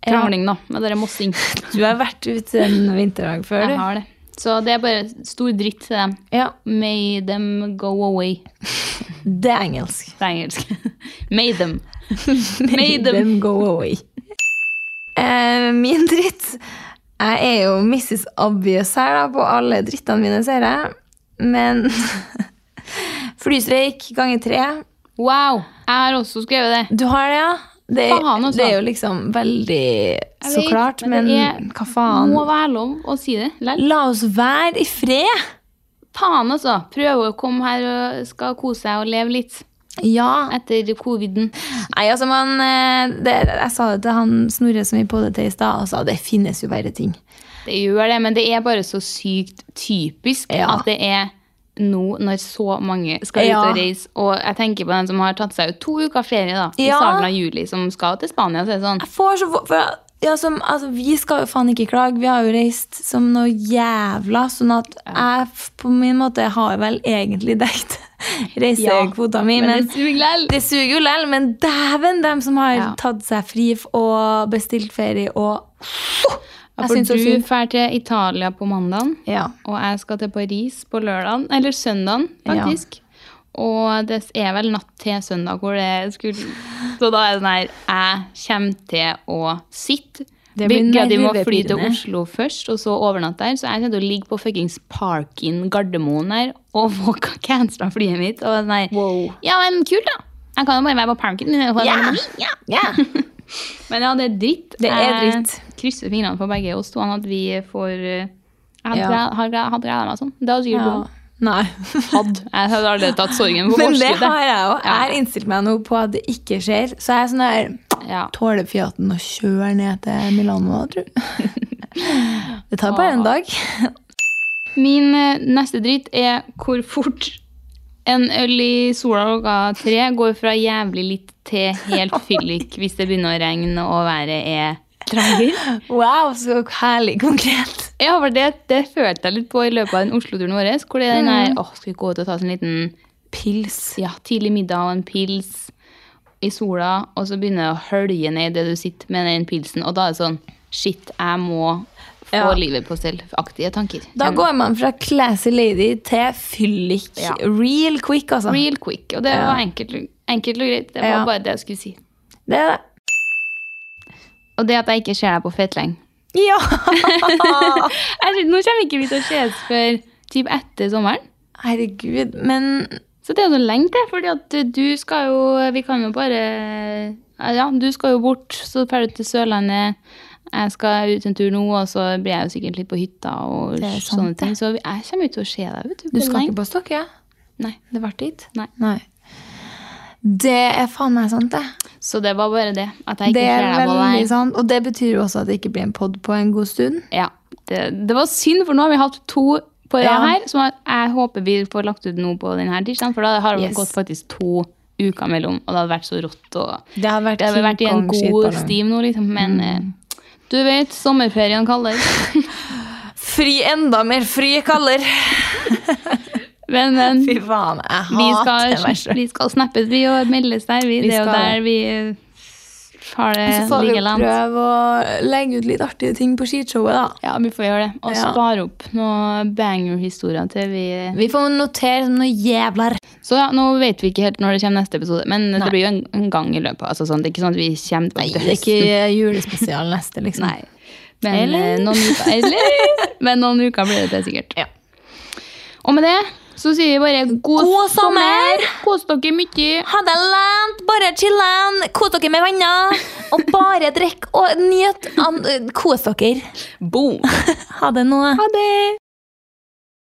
[SPEAKER 1] Ja.
[SPEAKER 2] krangling, da, med dere mossing.
[SPEAKER 1] Du har vært ute en vinterdag før,
[SPEAKER 2] Jeg
[SPEAKER 1] du.
[SPEAKER 2] har det. Så det er bare stor dritt til dem.
[SPEAKER 1] Ja,
[SPEAKER 2] May them go away.
[SPEAKER 1] det er engelsk.
[SPEAKER 2] Det er engelsk. May them. May them.
[SPEAKER 1] go away. Eh, min dritt Jeg er jo Mrs. Obvious her da, på alle drittene mine, ser jeg. Men flystreik ganger tre.
[SPEAKER 2] Wow! Jeg har også skrevet det.
[SPEAKER 1] Du har det, ja? Det, er-
[SPEAKER 2] Faen også.
[SPEAKER 1] det er jo liksom veldig så
[SPEAKER 2] vet,
[SPEAKER 1] klart,
[SPEAKER 2] men
[SPEAKER 1] men,
[SPEAKER 2] det er-
[SPEAKER 1] hva faen?
[SPEAKER 2] Må være lov å si det. Lell.
[SPEAKER 1] La oss være i fred!
[SPEAKER 2] Faen, altså. Prøve å komme her og skal kose seg og leve litt
[SPEAKER 1] Ja.
[SPEAKER 2] etter coviden.
[SPEAKER 1] Nei, altså man eh, det, Jeg sa det til han Snorre som vi poddet til i stad, og sa det finnes jo verre ting.
[SPEAKER 2] Det gjør det, men det er bare så sykt typisk
[SPEAKER 1] Ja.
[SPEAKER 2] at det er nå når så mange skal
[SPEAKER 1] Ja.
[SPEAKER 2] ut og reise. Og jeg tenker på den som har tatt seg ut to uker ferie da, i
[SPEAKER 1] Ja.
[SPEAKER 2] starten av juli, som skal til Spania. Så er det sånn,
[SPEAKER 1] Jeg får så for, ja, som, altså, Vi skal jo faen ikke klage. Vi har jo reist som noe jævla, sånn at jeg f- på min måte har vel egentlig dekt reisekvota mi.
[SPEAKER 2] men,
[SPEAKER 1] Men
[SPEAKER 2] det suger lell.
[SPEAKER 1] det suger jo lell, men dæven dem som har
[SPEAKER 2] Ja.
[SPEAKER 1] tatt seg fri f- og bestilt ferie og
[SPEAKER 2] Ja,
[SPEAKER 1] Jeg
[SPEAKER 2] for
[SPEAKER 1] synes så
[SPEAKER 2] du
[SPEAKER 1] synd.
[SPEAKER 2] drar til Italia på mandagen,
[SPEAKER 1] Ja.
[SPEAKER 2] og jeg skal til Paris på lørdagen, eller søndagen faktisk. Og det er vel natt til søndag hvor det skulle Så da er det sånn her Jeg kommer til å sitte.
[SPEAKER 1] Det blir
[SPEAKER 2] Begge de må fly til
[SPEAKER 1] nervepirrende.
[SPEAKER 2] Oslo først, og så overnatte der. Så jeg kommer til å ligge på fuckings Parkin Gardermoen her og få cancela flyet mitt. Og sånn her
[SPEAKER 1] Wow.
[SPEAKER 2] Ja, men kult, da! Jeg kan jo bare være på Parkin. men jeg får
[SPEAKER 1] Ja.
[SPEAKER 2] være med. Ja. Men ja, det er dritt.
[SPEAKER 1] Det er dritt.
[SPEAKER 2] Jeg krysser fingrene for begge oss to, sånn at vi får eh, Jeg hadde
[SPEAKER 1] Ja.
[SPEAKER 2] gled- hadde gled- hadde gleda meg sånn. Det hadde sikkert
[SPEAKER 1] Ja.
[SPEAKER 2] gått.
[SPEAKER 1] Nei.
[SPEAKER 2] Hadde. Jeg hadde allerede tatt sorgen på
[SPEAKER 1] Men det
[SPEAKER 2] forskuddet.
[SPEAKER 1] har jeg òg. Jeg
[SPEAKER 2] Ja.
[SPEAKER 1] har innstilt meg nå på at det ikke skjer. Så jeg er sånn der
[SPEAKER 2] Ja.
[SPEAKER 1] Tåler Fiaten å kjøre ned til Milano, tror du? Det tar bare en dag.
[SPEAKER 2] Min eh, neste dritt er hvor fort en øl i sola klokka tre går fra jævlig litt til helt fyllik hvis det begynner å regne og været er trager.
[SPEAKER 1] Wow, så herlig konkret.
[SPEAKER 2] Ja, for det, det følte jeg litt på i løpet av den Oslo-turen vår. Hvor det er den der, åh, skal vi gå ut og ta oss en liten
[SPEAKER 1] Pils.
[SPEAKER 2] Mm. ja, tidlig middag og en pils i sola, og så begynner jeg å hølje ned det du sitter med den pilsen, og da er det sånn, shit, jeg må få
[SPEAKER 1] Ja.
[SPEAKER 2] livet på selvaktige tanker.
[SPEAKER 1] Da
[SPEAKER 2] Jeg må-
[SPEAKER 1] går man fra classy lady til fyllik.
[SPEAKER 2] Ja.
[SPEAKER 1] Real quick, altså.
[SPEAKER 2] Real quick, og det var enkelt, enkelt og greit. Det var
[SPEAKER 1] Ja.
[SPEAKER 2] bare det jeg skulle si.
[SPEAKER 1] Det er det.
[SPEAKER 2] Og det at jeg ikke ser deg på fettleng.
[SPEAKER 1] Ja!
[SPEAKER 2] Jeg skjønner- Nå kommer ikke vi til å ses før typ etter sommeren.
[SPEAKER 1] Herregud, men
[SPEAKER 2] Så det er jo så lenge til, fordi at du skal jo Vi kan jo bare Ja, du skal jo bort, så drar du til Sørlandet. Jeg skal ut en tur nå, og så blir jeg jo sikkert litt på hytta og
[SPEAKER 1] Det er sant,
[SPEAKER 2] sånne
[SPEAKER 1] det.
[SPEAKER 2] ting. Så jeg kommer jo til å se deg, vet du.
[SPEAKER 1] Du
[SPEAKER 2] på
[SPEAKER 1] skal
[SPEAKER 2] lenge.
[SPEAKER 1] ikke på Stokke? Ja?
[SPEAKER 2] Nei.
[SPEAKER 1] Det ble dit?
[SPEAKER 2] Nei.
[SPEAKER 1] Nei. Det er faen meg sant, det.
[SPEAKER 2] Så det var bare det. At jeg ikke
[SPEAKER 1] Det
[SPEAKER 2] ser
[SPEAKER 1] er
[SPEAKER 2] deg på
[SPEAKER 1] veldig
[SPEAKER 2] deg.
[SPEAKER 1] sant. Og det betyr jo også at det ikke blir en pod på en god stund.
[SPEAKER 2] Ja, det, det var synd, for nå har vi hatt to på rad
[SPEAKER 1] Ja.
[SPEAKER 2] her, som jeg- jeg håper vi får lagt ut nå på denne tirsdagen, for da har det
[SPEAKER 1] Yes.
[SPEAKER 2] gått faktisk to uker mellom, og det hadde vært så rått og
[SPEAKER 1] Det hadde vært,
[SPEAKER 2] Det har vel vært i en god stim nå, liksom, men
[SPEAKER 1] Mm.
[SPEAKER 2] eh, du vet, sommerferien kaller.
[SPEAKER 1] Fri enda mer fri, kaller.
[SPEAKER 2] Men, men
[SPEAKER 1] Fy faen, jeg
[SPEAKER 2] vi,
[SPEAKER 1] hater meg
[SPEAKER 2] skal,
[SPEAKER 1] selv.
[SPEAKER 2] vi skal snappes, vi, og meldes der. Vi,
[SPEAKER 1] Vi
[SPEAKER 2] det er jo
[SPEAKER 1] skal.
[SPEAKER 2] der vi eh, har det
[SPEAKER 1] Så får vi
[SPEAKER 2] ligger land.
[SPEAKER 1] prøve å legge ut litt artige ting på skishowet, da.
[SPEAKER 2] Ja, vi får gjøre det. Og
[SPEAKER 1] Ja.
[SPEAKER 2] spare opp noen banger-historier til vi
[SPEAKER 1] Vi får notere som noe jævlar.
[SPEAKER 2] Så ja, nå vet vi ikke helt når det kommer neste episode, men det blir jo en, en gang i løpet. Altså, sånn, det er ikke sånn at vi kommer
[SPEAKER 1] Nei,
[SPEAKER 2] til
[SPEAKER 1] det er
[SPEAKER 2] høsten.
[SPEAKER 1] ikke julespesial neste, liksom.
[SPEAKER 2] Nei. Men,
[SPEAKER 1] Eller?
[SPEAKER 2] eh, Noen uker, eller? Men noen uker blir det til, sikkert.
[SPEAKER 1] Ja.
[SPEAKER 2] Og med det så sier vi bare god,
[SPEAKER 1] God sommer!
[SPEAKER 2] Kos dere mye.
[SPEAKER 1] Ha det lent, bare chillen, kos dere med venner, og bare drikk og nyt. An- eh, Kos dere.
[SPEAKER 2] Boom!
[SPEAKER 1] Ha det nå.
[SPEAKER 2] Ha det!